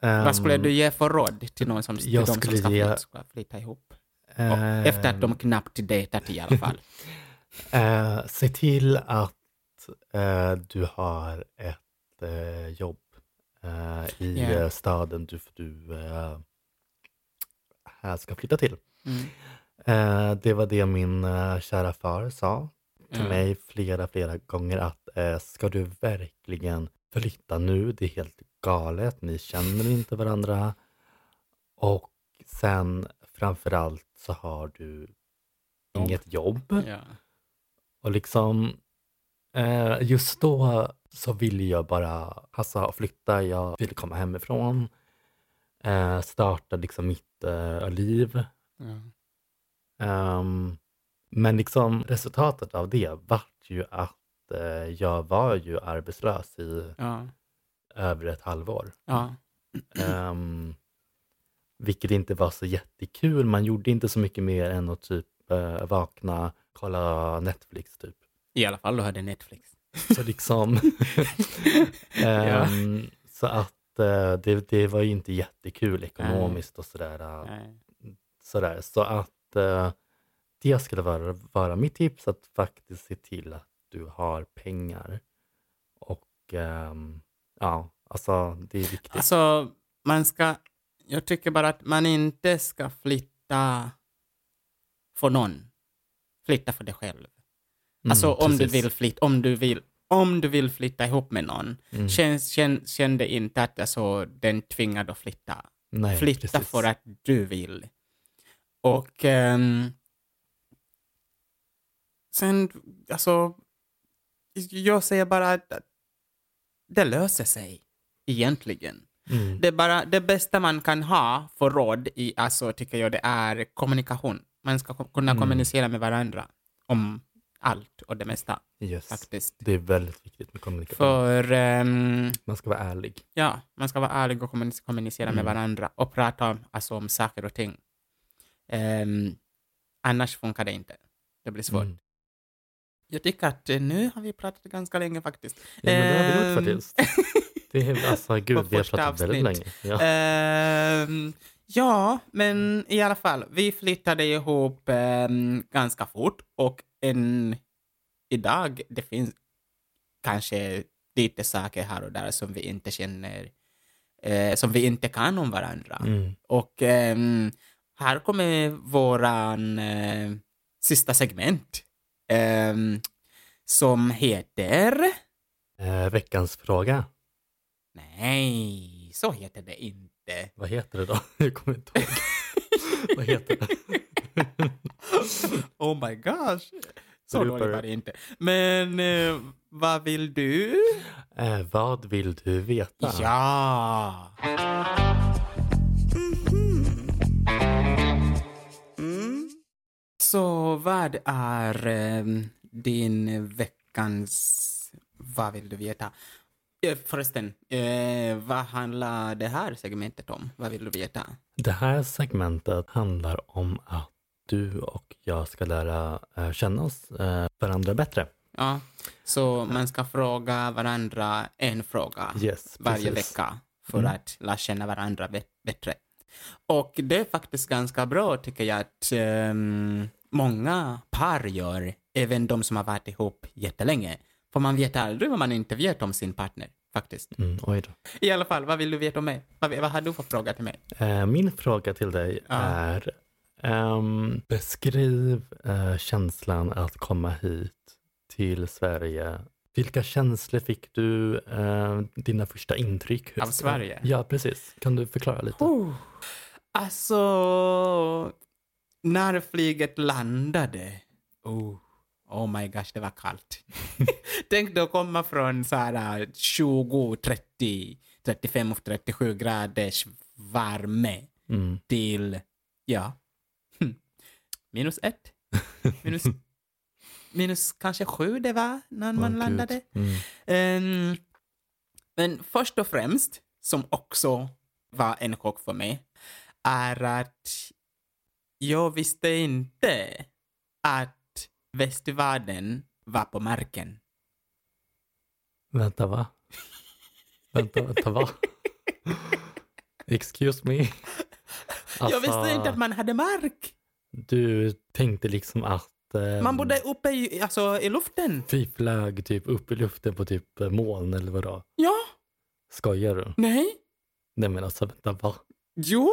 [SPEAKER 2] Vad skulle du ge för råd till någon som, till
[SPEAKER 1] Ehm, jag
[SPEAKER 2] de som
[SPEAKER 1] skulle
[SPEAKER 2] ska,
[SPEAKER 1] ge-
[SPEAKER 2] flytta, ska flytta ihop? Och,
[SPEAKER 1] Ehm,
[SPEAKER 2] efter att de knappt dejtat i alla fall.
[SPEAKER 1] Eh, se till att eh, du har ett eh, jobb eh, i
[SPEAKER 2] Ja.
[SPEAKER 1] eh, staden du, du eh, här ska flytta till.
[SPEAKER 2] Mm.
[SPEAKER 1] Eh, det var det min eh, kära far sa till
[SPEAKER 2] Mm.
[SPEAKER 1] mig flera, flera gånger att eh, ska du verkligen flytta nu? Det är helt galet, ni känner inte varandra. Och sen framförallt så har du
[SPEAKER 2] Jobb.
[SPEAKER 1] inget jobb.
[SPEAKER 2] Ja.
[SPEAKER 1] Och liksom, eh, just då så ville jag bara passa flytta. Jag ville komma hemifrån, eh, starta liksom mitt eh, liv.
[SPEAKER 2] Ja.
[SPEAKER 1] Ehm, men liksom resultatet av det vart ju att eh, jag var ju arbetslös i
[SPEAKER 2] Ja.
[SPEAKER 1] över ett halvår.
[SPEAKER 2] Ja.
[SPEAKER 1] Ehm, vilket inte var så jättekul. Man gjorde inte så mycket mer än att typ eh, vakna, kolla Netflix typ.
[SPEAKER 2] I alla fall du hade Netflix.
[SPEAKER 1] Så liksom...
[SPEAKER 2] Ja.
[SPEAKER 1] Ehm, Så att eh, det, det var ju inte jättekul ekonomiskt och sådär. eh,
[SPEAKER 2] Nej.
[SPEAKER 1] sådär. Så att eh, det skulle vara, vara mitt tips, att faktiskt se till att du har pengar. Och ehm, Ja, alltså det är viktigt.
[SPEAKER 2] Alltså, man ska... Jag tycker bara att man inte ska flytta för någon. Flytta för dig själv. alltså om du,
[SPEAKER 1] Mm, precis.
[SPEAKER 2] vill flytta, om, du vill, om du vill flytta ihop med någon,
[SPEAKER 1] Mm.
[SPEAKER 2] känn, känn, känn dig inte att alltså, den tvingar dig att flytta.
[SPEAKER 1] Nej,
[SPEAKER 2] flytta
[SPEAKER 1] precis.
[SPEAKER 2] för att du vill. Och ehm, sen, alltså, jag säger bara att att det löser sig egentligen.
[SPEAKER 1] Mm.
[SPEAKER 2] Det, är bara, det bästa man kan ha för råd, i, alltså, tycker jag, det är kommunikation. Man ska ko- kunna
[SPEAKER 1] Mm.
[SPEAKER 2] kommunicera med varandra om allt och det mesta
[SPEAKER 1] Yes.
[SPEAKER 2] faktiskt.
[SPEAKER 1] Det är väldigt viktigt med kommunikation.
[SPEAKER 2] För ehm,
[SPEAKER 1] Man ska vara ärlig.
[SPEAKER 2] Ja, man ska vara ärlig och kommunic- kommunicera
[SPEAKER 1] Mm.
[SPEAKER 2] med varandra och prata om, alltså, om saker och ting. Ehm, annars funkar det inte. Det blir svårt.
[SPEAKER 1] Mm.
[SPEAKER 2] Jag tycker att eh, nu har vi pratat ganska länge faktiskt.
[SPEAKER 1] Ja, men det har vi gjort
[SPEAKER 2] Ehm,
[SPEAKER 1] faktiskt. Det är, alltså, gud, vi har
[SPEAKER 2] första
[SPEAKER 1] pratat väldigt
[SPEAKER 2] avsnitt.
[SPEAKER 1] länge. Ja.
[SPEAKER 2] Ehm, ja, men i alla fall, vi flyttade ihop ehm, ganska fort och en, idag det finns kanske lite saker här och där som vi inte känner, eh, som vi inte kan om varandra.
[SPEAKER 1] Mm.
[SPEAKER 2] Och ehm, här kommer våran eh, sista segment ehm, som heter...
[SPEAKER 1] Eh, veckans fråga.
[SPEAKER 2] Nej, så heter det inte.
[SPEAKER 1] Vad heter det då? Jag kommer inte ihåg. Vad heter det?
[SPEAKER 2] Oh my gosh. Så
[SPEAKER 1] Beror
[SPEAKER 2] dålig
[SPEAKER 1] på-
[SPEAKER 2] var det inte. Men eh, vad vill du?
[SPEAKER 1] Eh, vad vill du veta?
[SPEAKER 2] Ja! Mhm. Så vad är eh, din veckans... Vad vill du veta? Eh, Förresten, eh, vad handlar det här segmentet om? Vad vill du veta?
[SPEAKER 1] Det här segmentet handlar om att du och jag ska lära eh, känna oss eh, varandra bättre.
[SPEAKER 2] Ja, så man ska fråga varandra en fråga.
[SPEAKER 1] Yes,
[SPEAKER 2] varje
[SPEAKER 1] precis.
[SPEAKER 2] vecka för att lära känna varandra bä- bättre. Och det är faktiskt ganska bra tycker jag att ehm, många par gör, även de som har varit ihop jättelänge. För man vet aldrig vad man inte vet om sin partner faktiskt.
[SPEAKER 1] Mm, oj då.
[SPEAKER 2] I alla fall, vad vill du veta om mig? Vad, vad har du för fråga till mig?
[SPEAKER 1] Eh, Min fråga till dig
[SPEAKER 2] Ja.
[SPEAKER 1] är ehm, beskriv eh, känslan att komma hit till Sverige. Vilka känslor fick du? eh, Dina första intryck?
[SPEAKER 2] Av Sverige?
[SPEAKER 1] Ja, precis. Kan du förklara lite?
[SPEAKER 2] Oh. Alltså, när flyget landade. Oh, oh my gosh, det var kallt. Tänk då komma från så här äh, 20, 30, 35 och 37 graders värme
[SPEAKER 1] Mm.
[SPEAKER 2] till, ja, hm, minus ett. Minus, minus kanske sju det var när man
[SPEAKER 1] Åh, gud.
[SPEAKER 2] landade.
[SPEAKER 1] Mm.
[SPEAKER 2] Ehm, men först och främst, som också var en chock för mig, är att jag visste inte att västvärlden var på marken.
[SPEAKER 1] Vänta, va? Vänta, vänta, va? Excuse me? Alltså,
[SPEAKER 2] Jag visste inte att man hade mark.
[SPEAKER 1] Du tänkte liksom att eh,
[SPEAKER 2] Man bodde uppe i, alltså, i luften.
[SPEAKER 1] vi flög typ upp i luften på typ eh, moln eller vadå?
[SPEAKER 2] Ja,
[SPEAKER 1] Skojar du?
[SPEAKER 2] nej,
[SPEAKER 1] Nej men alltså vänta, va?
[SPEAKER 2] jo.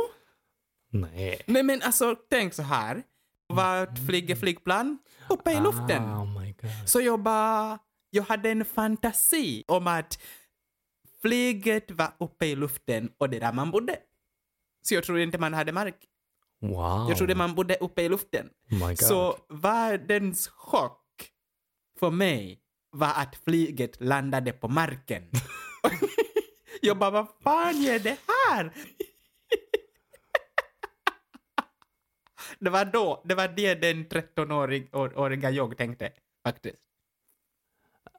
[SPEAKER 1] Nej.
[SPEAKER 2] Nej men alltså tänk så här. Vart flyger flygplan? Uppe i luften.
[SPEAKER 1] Oh my god.
[SPEAKER 2] Så jag bara, jag hade en fantasi om att flyget var uppe i luften och det där man bodde. Så jag trodde inte man hade mark.
[SPEAKER 1] Wow.
[SPEAKER 2] Jag trodde man bodde uppe i luften.
[SPEAKER 1] Oh Ah. my god.
[SPEAKER 2] Så världens chock för mig var att flyget landade på marken. jag bara, vad fan är det här? det var då, det var det den 13-åriga jag tänkte faktiskt.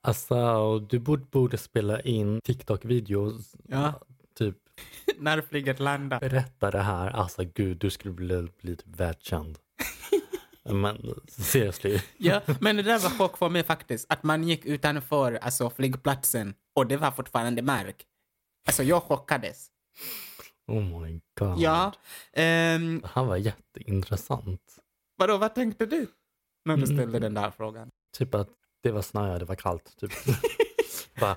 [SPEAKER 1] Alltså, du borde, borde spela in TikTok-videos.
[SPEAKER 2] Ja.
[SPEAKER 1] Typ,
[SPEAKER 2] när flyget landar.
[SPEAKER 1] berätta det här. Alltså gud, du skulle bli, bli typ världskänd. men seriously.
[SPEAKER 2] Ja, men det där var chock för mig faktiskt. Att man gick utanför alltså, flygplatsen och det var fortfarande mark. Alltså jag chockades.
[SPEAKER 1] Oh my god.
[SPEAKER 2] Ja. Um,
[SPEAKER 1] Det här var jätteintressant.
[SPEAKER 2] vadå, vad tänkte du? När du ställde den där frågan.
[SPEAKER 1] Typ att det var snö, det var kallt. Typ. Bara,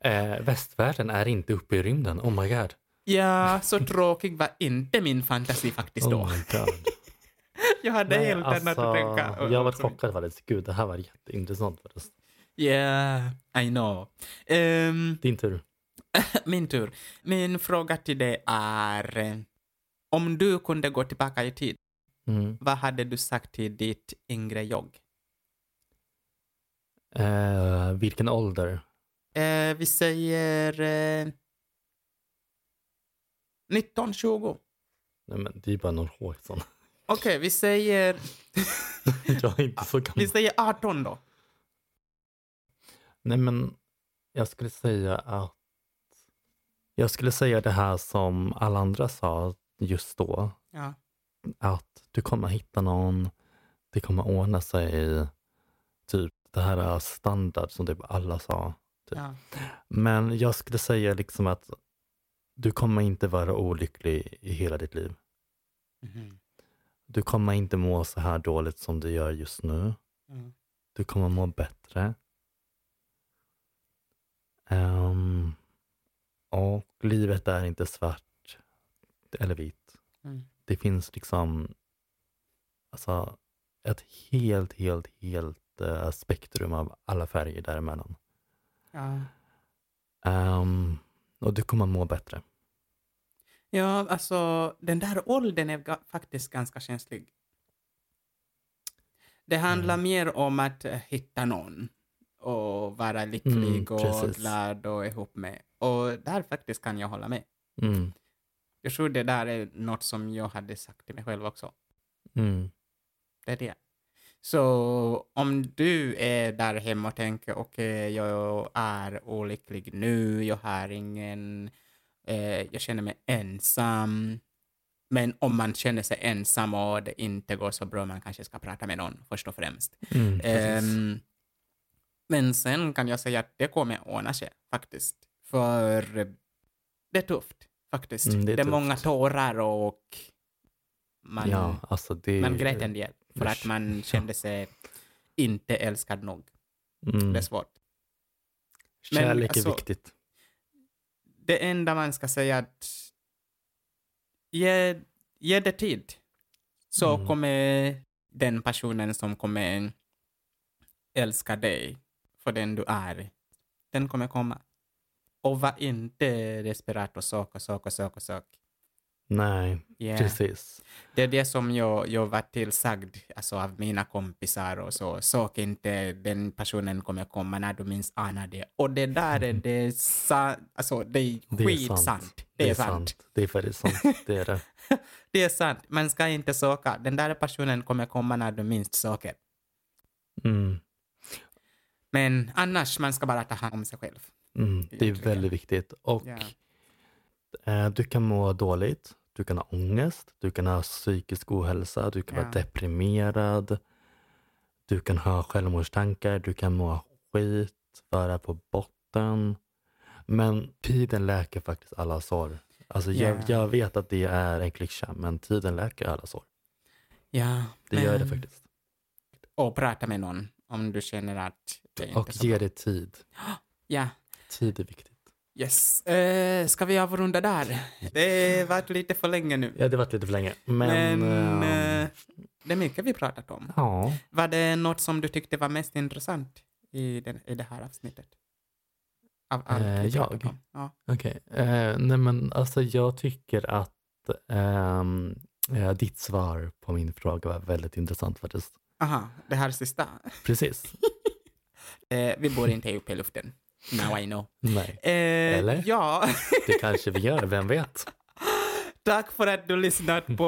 [SPEAKER 1] Eh, västvärlden är inte uppe i rymden. Oh my god.
[SPEAKER 2] Ja, så tråkig var inte min fantasi faktiskt då.
[SPEAKER 1] Oh my god. alltså,
[SPEAKER 2] Jag hade helt annat att tänka. och-
[SPEAKER 1] jag var
[SPEAKER 2] och så
[SPEAKER 1] chockad faktiskt. Gud, det här var jätteintressant. Faktiskt.
[SPEAKER 2] Yeah, I know. Ehm,
[SPEAKER 1] Din tur.
[SPEAKER 2] min tur. Min fråga till dig är, eh, om du kunde gå tillbaka i tid,
[SPEAKER 1] Mm.
[SPEAKER 2] vad hade du sagt till ditt yngre jag?
[SPEAKER 1] Eh, vilken ålder?
[SPEAKER 2] Eh, vi säger eh, 1920.
[SPEAKER 1] Nej, men det är bara någon år sedan.
[SPEAKER 2] Okej, vi säger,
[SPEAKER 1] Jag är inte så gammal.
[SPEAKER 2] vi säger 18 då.
[SPEAKER 1] Nej, men jag skulle säga att jag skulle säga det här som alla andra sa just då.
[SPEAKER 2] Ja.
[SPEAKER 1] Att du kommer hitta någon, det kommer ordna sig. Typ det här är standard som typ alla sa.
[SPEAKER 2] ja.
[SPEAKER 1] Men jag skulle säga liksom att du kommer inte vara olycklig i hela ditt liv. Mm-hmm.
[SPEAKER 2] Mhm.
[SPEAKER 1] Du kommer inte må så här dåligt som du gör just nu. Mm-hmm.
[SPEAKER 2] Mm.
[SPEAKER 1] Du kommer må bättre. Ehm, och livet är inte svart eller vitt.
[SPEAKER 2] Mm.
[SPEAKER 1] Det finns liksom alltså, ett helt, helt, helt eh, spektrum av alla färger däremellan.
[SPEAKER 2] Ja.
[SPEAKER 1] Um, och du kommer må bättre.
[SPEAKER 2] ja, alltså den där åldern är ga- faktiskt ganska känslig. Det handlar
[SPEAKER 1] Mm.
[SPEAKER 2] mer om att eh, hitta någon och vara lycklig
[SPEAKER 1] Mm,
[SPEAKER 2] och
[SPEAKER 1] precis.
[SPEAKER 2] glad och ihop med. Och där faktiskt kan jag hålla med.
[SPEAKER 1] Mm,
[SPEAKER 2] Jag tror det där är något som jag hade sagt till mig själv också.
[SPEAKER 1] mm,
[SPEAKER 2] Det är det. Så om du är där hemma och tänker okej, jag är olycklig nu, jag har ingen, eh, jag känner mig ensam. Men om man känner sig ensam och det inte går så bra, man kanske ska prata med någon först och främst.
[SPEAKER 1] mm, precis.
[SPEAKER 2] Ehm, men sen kan jag säga att det kommer ordna sig faktiskt. För det är tufft faktiskt.
[SPEAKER 1] Mm,
[SPEAKER 2] det,
[SPEAKER 1] det
[SPEAKER 2] är
[SPEAKER 1] är
[SPEAKER 2] många
[SPEAKER 1] tufft.
[SPEAKER 2] tårar och man,
[SPEAKER 1] ja, alltså det,
[SPEAKER 2] man grät en del för att
[SPEAKER 1] usch.
[SPEAKER 2] man kände sig inte älskad nog.
[SPEAKER 1] mm,
[SPEAKER 2] Det är svårt. men
[SPEAKER 1] Kärlek
[SPEAKER 2] alltså-
[SPEAKER 1] är viktigt.
[SPEAKER 2] Det enda man ska säga är att ge, ge det tid. Så
[SPEAKER 1] Mm.
[SPEAKER 2] kommer den personen som kommer älska dig för den du är, den kommer komma. Och var inte desperat och sök och sök och sök och sök.
[SPEAKER 1] Nej,
[SPEAKER 2] Yeah.
[SPEAKER 1] precis.
[SPEAKER 2] Det är det som jag, jag var tillsagd alltså av mina kompisar och så. Sök inte, den personen kommer komma när du minst anar det. Och det där är det sa, alltså det är
[SPEAKER 1] Det är
[SPEAKER 2] skitsant.
[SPEAKER 1] sant.
[SPEAKER 2] Det, är sant.
[SPEAKER 1] Det är faktiskt sant. Det är det.
[SPEAKER 2] Det är sant. Man ska inte söka. Den där personen kommer komma när du minst söker.
[SPEAKER 1] Mm,
[SPEAKER 2] Men annars, man ska bara ta hand om sig själv.
[SPEAKER 1] mm, det är
[SPEAKER 2] Egentligen.
[SPEAKER 1] väldigt viktigt. Och
[SPEAKER 2] Ja.
[SPEAKER 1] eh, du kan må dåligt. Du kan ha ångest. Du kan ha psykisk ohälsa. Du kan
[SPEAKER 2] Ja.
[SPEAKER 1] vara deprimerad. Du kan ha självmordstankar. Du kan må skit. Vara på botten. Men tiden läker faktiskt alla sår. Alltså
[SPEAKER 2] Ja.
[SPEAKER 1] jag, jag vet att det är en klyscha, men tiden läker alla sår.
[SPEAKER 2] ja
[SPEAKER 1] Det gör det
[SPEAKER 2] men-
[SPEAKER 1] faktiskt.
[SPEAKER 2] Och prata med någon om du känner att det är inte
[SPEAKER 1] Och
[SPEAKER 2] så
[SPEAKER 1] ge
[SPEAKER 2] bra.
[SPEAKER 1] det tid.
[SPEAKER 2] Ja.
[SPEAKER 1] Tid är viktigt.
[SPEAKER 2] Yes. Eh, ska vi avrunda där? Det har varit lite för länge nu.
[SPEAKER 1] Ja, det har varit lite för länge. Men...
[SPEAKER 2] Men,
[SPEAKER 1] ehm,
[SPEAKER 2] eh, det är mycket vi pratat om.
[SPEAKER 1] ja.
[SPEAKER 2] Var det något som du tyckte var mest intressant i, den, i det här avsnittet? Av allt
[SPEAKER 1] Eh,
[SPEAKER 2] vi pratat
[SPEAKER 1] jag?
[SPEAKER 2] om? Ja.
[SPEAKER 1] Okej. Eh, nej men alltså jag tycker att ehm, eh, ditt svar på min fråga var väldigt intressant faktiskt.
[SPEAKER 2] Aha, det här sista.
[SPEAKER 1] Precis.
[SPEAKER 2] Eh, vi bor inte uppe i luften. Now I know.
[SPEAKER 1] nej,
[SPEAKER 2] Eh,
[SPEAKER 1] Eller?
[SPEAKER 2] Ja,
[SPEAKER 1] det kanske vi gör. Vem vet?
[SPEAKER 2] tack för att du lyssnat på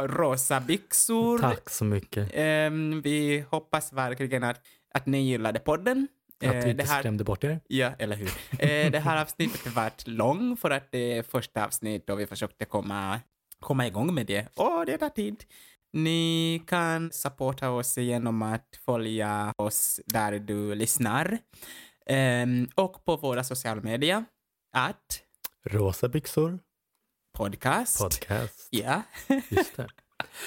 [SPEAKER 2] Rosa byxor.
[SPEAKER 1] Tack så mycket.
[SPEAKER 2] Ehm, vi hoppas verkligen att, att ni gillade podden. Eh,
[SPEAKER 1] Att vi
[SPEAKER 2] det
[SPEAKER 1] inte
[SPEAKER 2] här-
[SPEAKER 1] skrämde bort er.
[SPEAKER 2] Ja, eller hur. Eh, det här avsnittet varit långt för att det är första avsnitt och vi försökte komma, komma igång med det. Och det tar tid. Ni kan supporta oss genom att följa oss där du lyssnar. Ehm, och på våra sociala medier. Att
[SPEAKER 1] Rosa byxor,
[SPEAKER 2] podcast.
[SPEAKER 1] podcast.
[SPEAKER 2] ja.
[SPEAKER 1] Just det.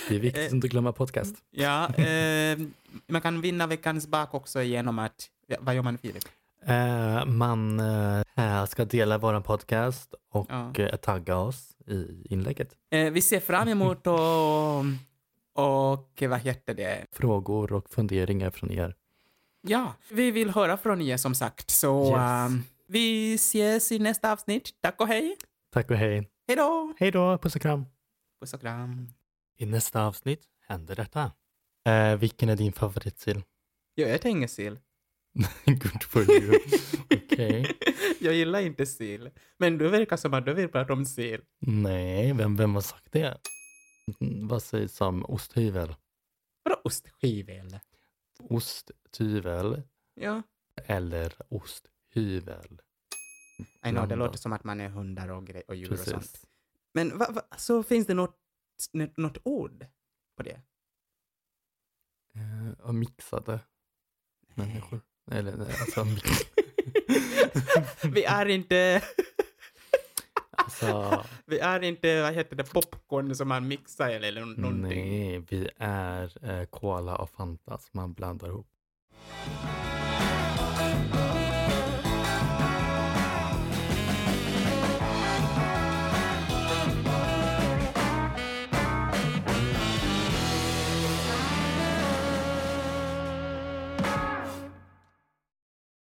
[SPEAKER 1] Det är
[SPEAKER 2] Eh,
[SPEAKER 1] viktigt att inte glömma podcast.
[SPEAKER 2] ja ehm, man kan vinna veckans bak också genom att... Ja, vad gör man Filip?
[SPEAKER 1] Eh, man eh, här ska dela vår podcast och
[SPEAKER 2] Ja.
[SPEAKER 1] eh, tagga oss i inlägget.
[SPEAKER 2] Eh, vi ser fram emot och, och vad heter det?
[SPEAKER 1] Frågor och funderingar från er.
[SPEAKER 2] Ja, vi vill höra från er som sagt. Så
[SPEAKER 1] Yes.
[SPEAKER 2] ehm, vi ses i nästa avsnitt. Tack och hej.
[SPEAKER 1] Tack och hej.
[SPEAKER 2] Hej då.
[SPEAKER 1] Hej då, puss och kram.
[SPEAKER 2] Puss och kram.
[SPEAKER 4] I nästa avsnitt händer detta. Eh, vilken är din favoritstil?
[SPEAKER 2] Jag äter ingen sill.
[SPEAKER 4] Good for you. Okej.
[SPEAKER 2] Jag gillar inte sill. Men du verkar som att du vill prata om sill.
[SPEAKER 4] Nej, vem, vem har sagt det?
[SPEAKER 1] Mm, Vad sägs om osthyvel?
[SPEAKER 2] Vadå ostskivel?
[SPEAKER 1] Osttyvel
[SPEAKER 2] Ja.
[SPEAKER 1] eller osthyvel?
[SPEAKER 2] I know, det
[SPEAKER 1] Blanda.
[SPEAKER 2] låter som att man är hundar och, gre- och djur och sånt.
[SPEAKER 1] Precis.
[SPEAKER 2] Men va, va, så finns det något, n- något ord på det?
[SPEAKER 1] Eh, och mixade människor. Eller nej, alltså, mix,
[SPEAKER 2] vi är inte,
[SPEAKER 1] alltså
[SPEAKER 2] vi är inte, vad heter det, popcorn som man mixar eller nå- någonting.
[SPEAKER 1] nej, vi är eh, cola och Fanta som man blandar ihop.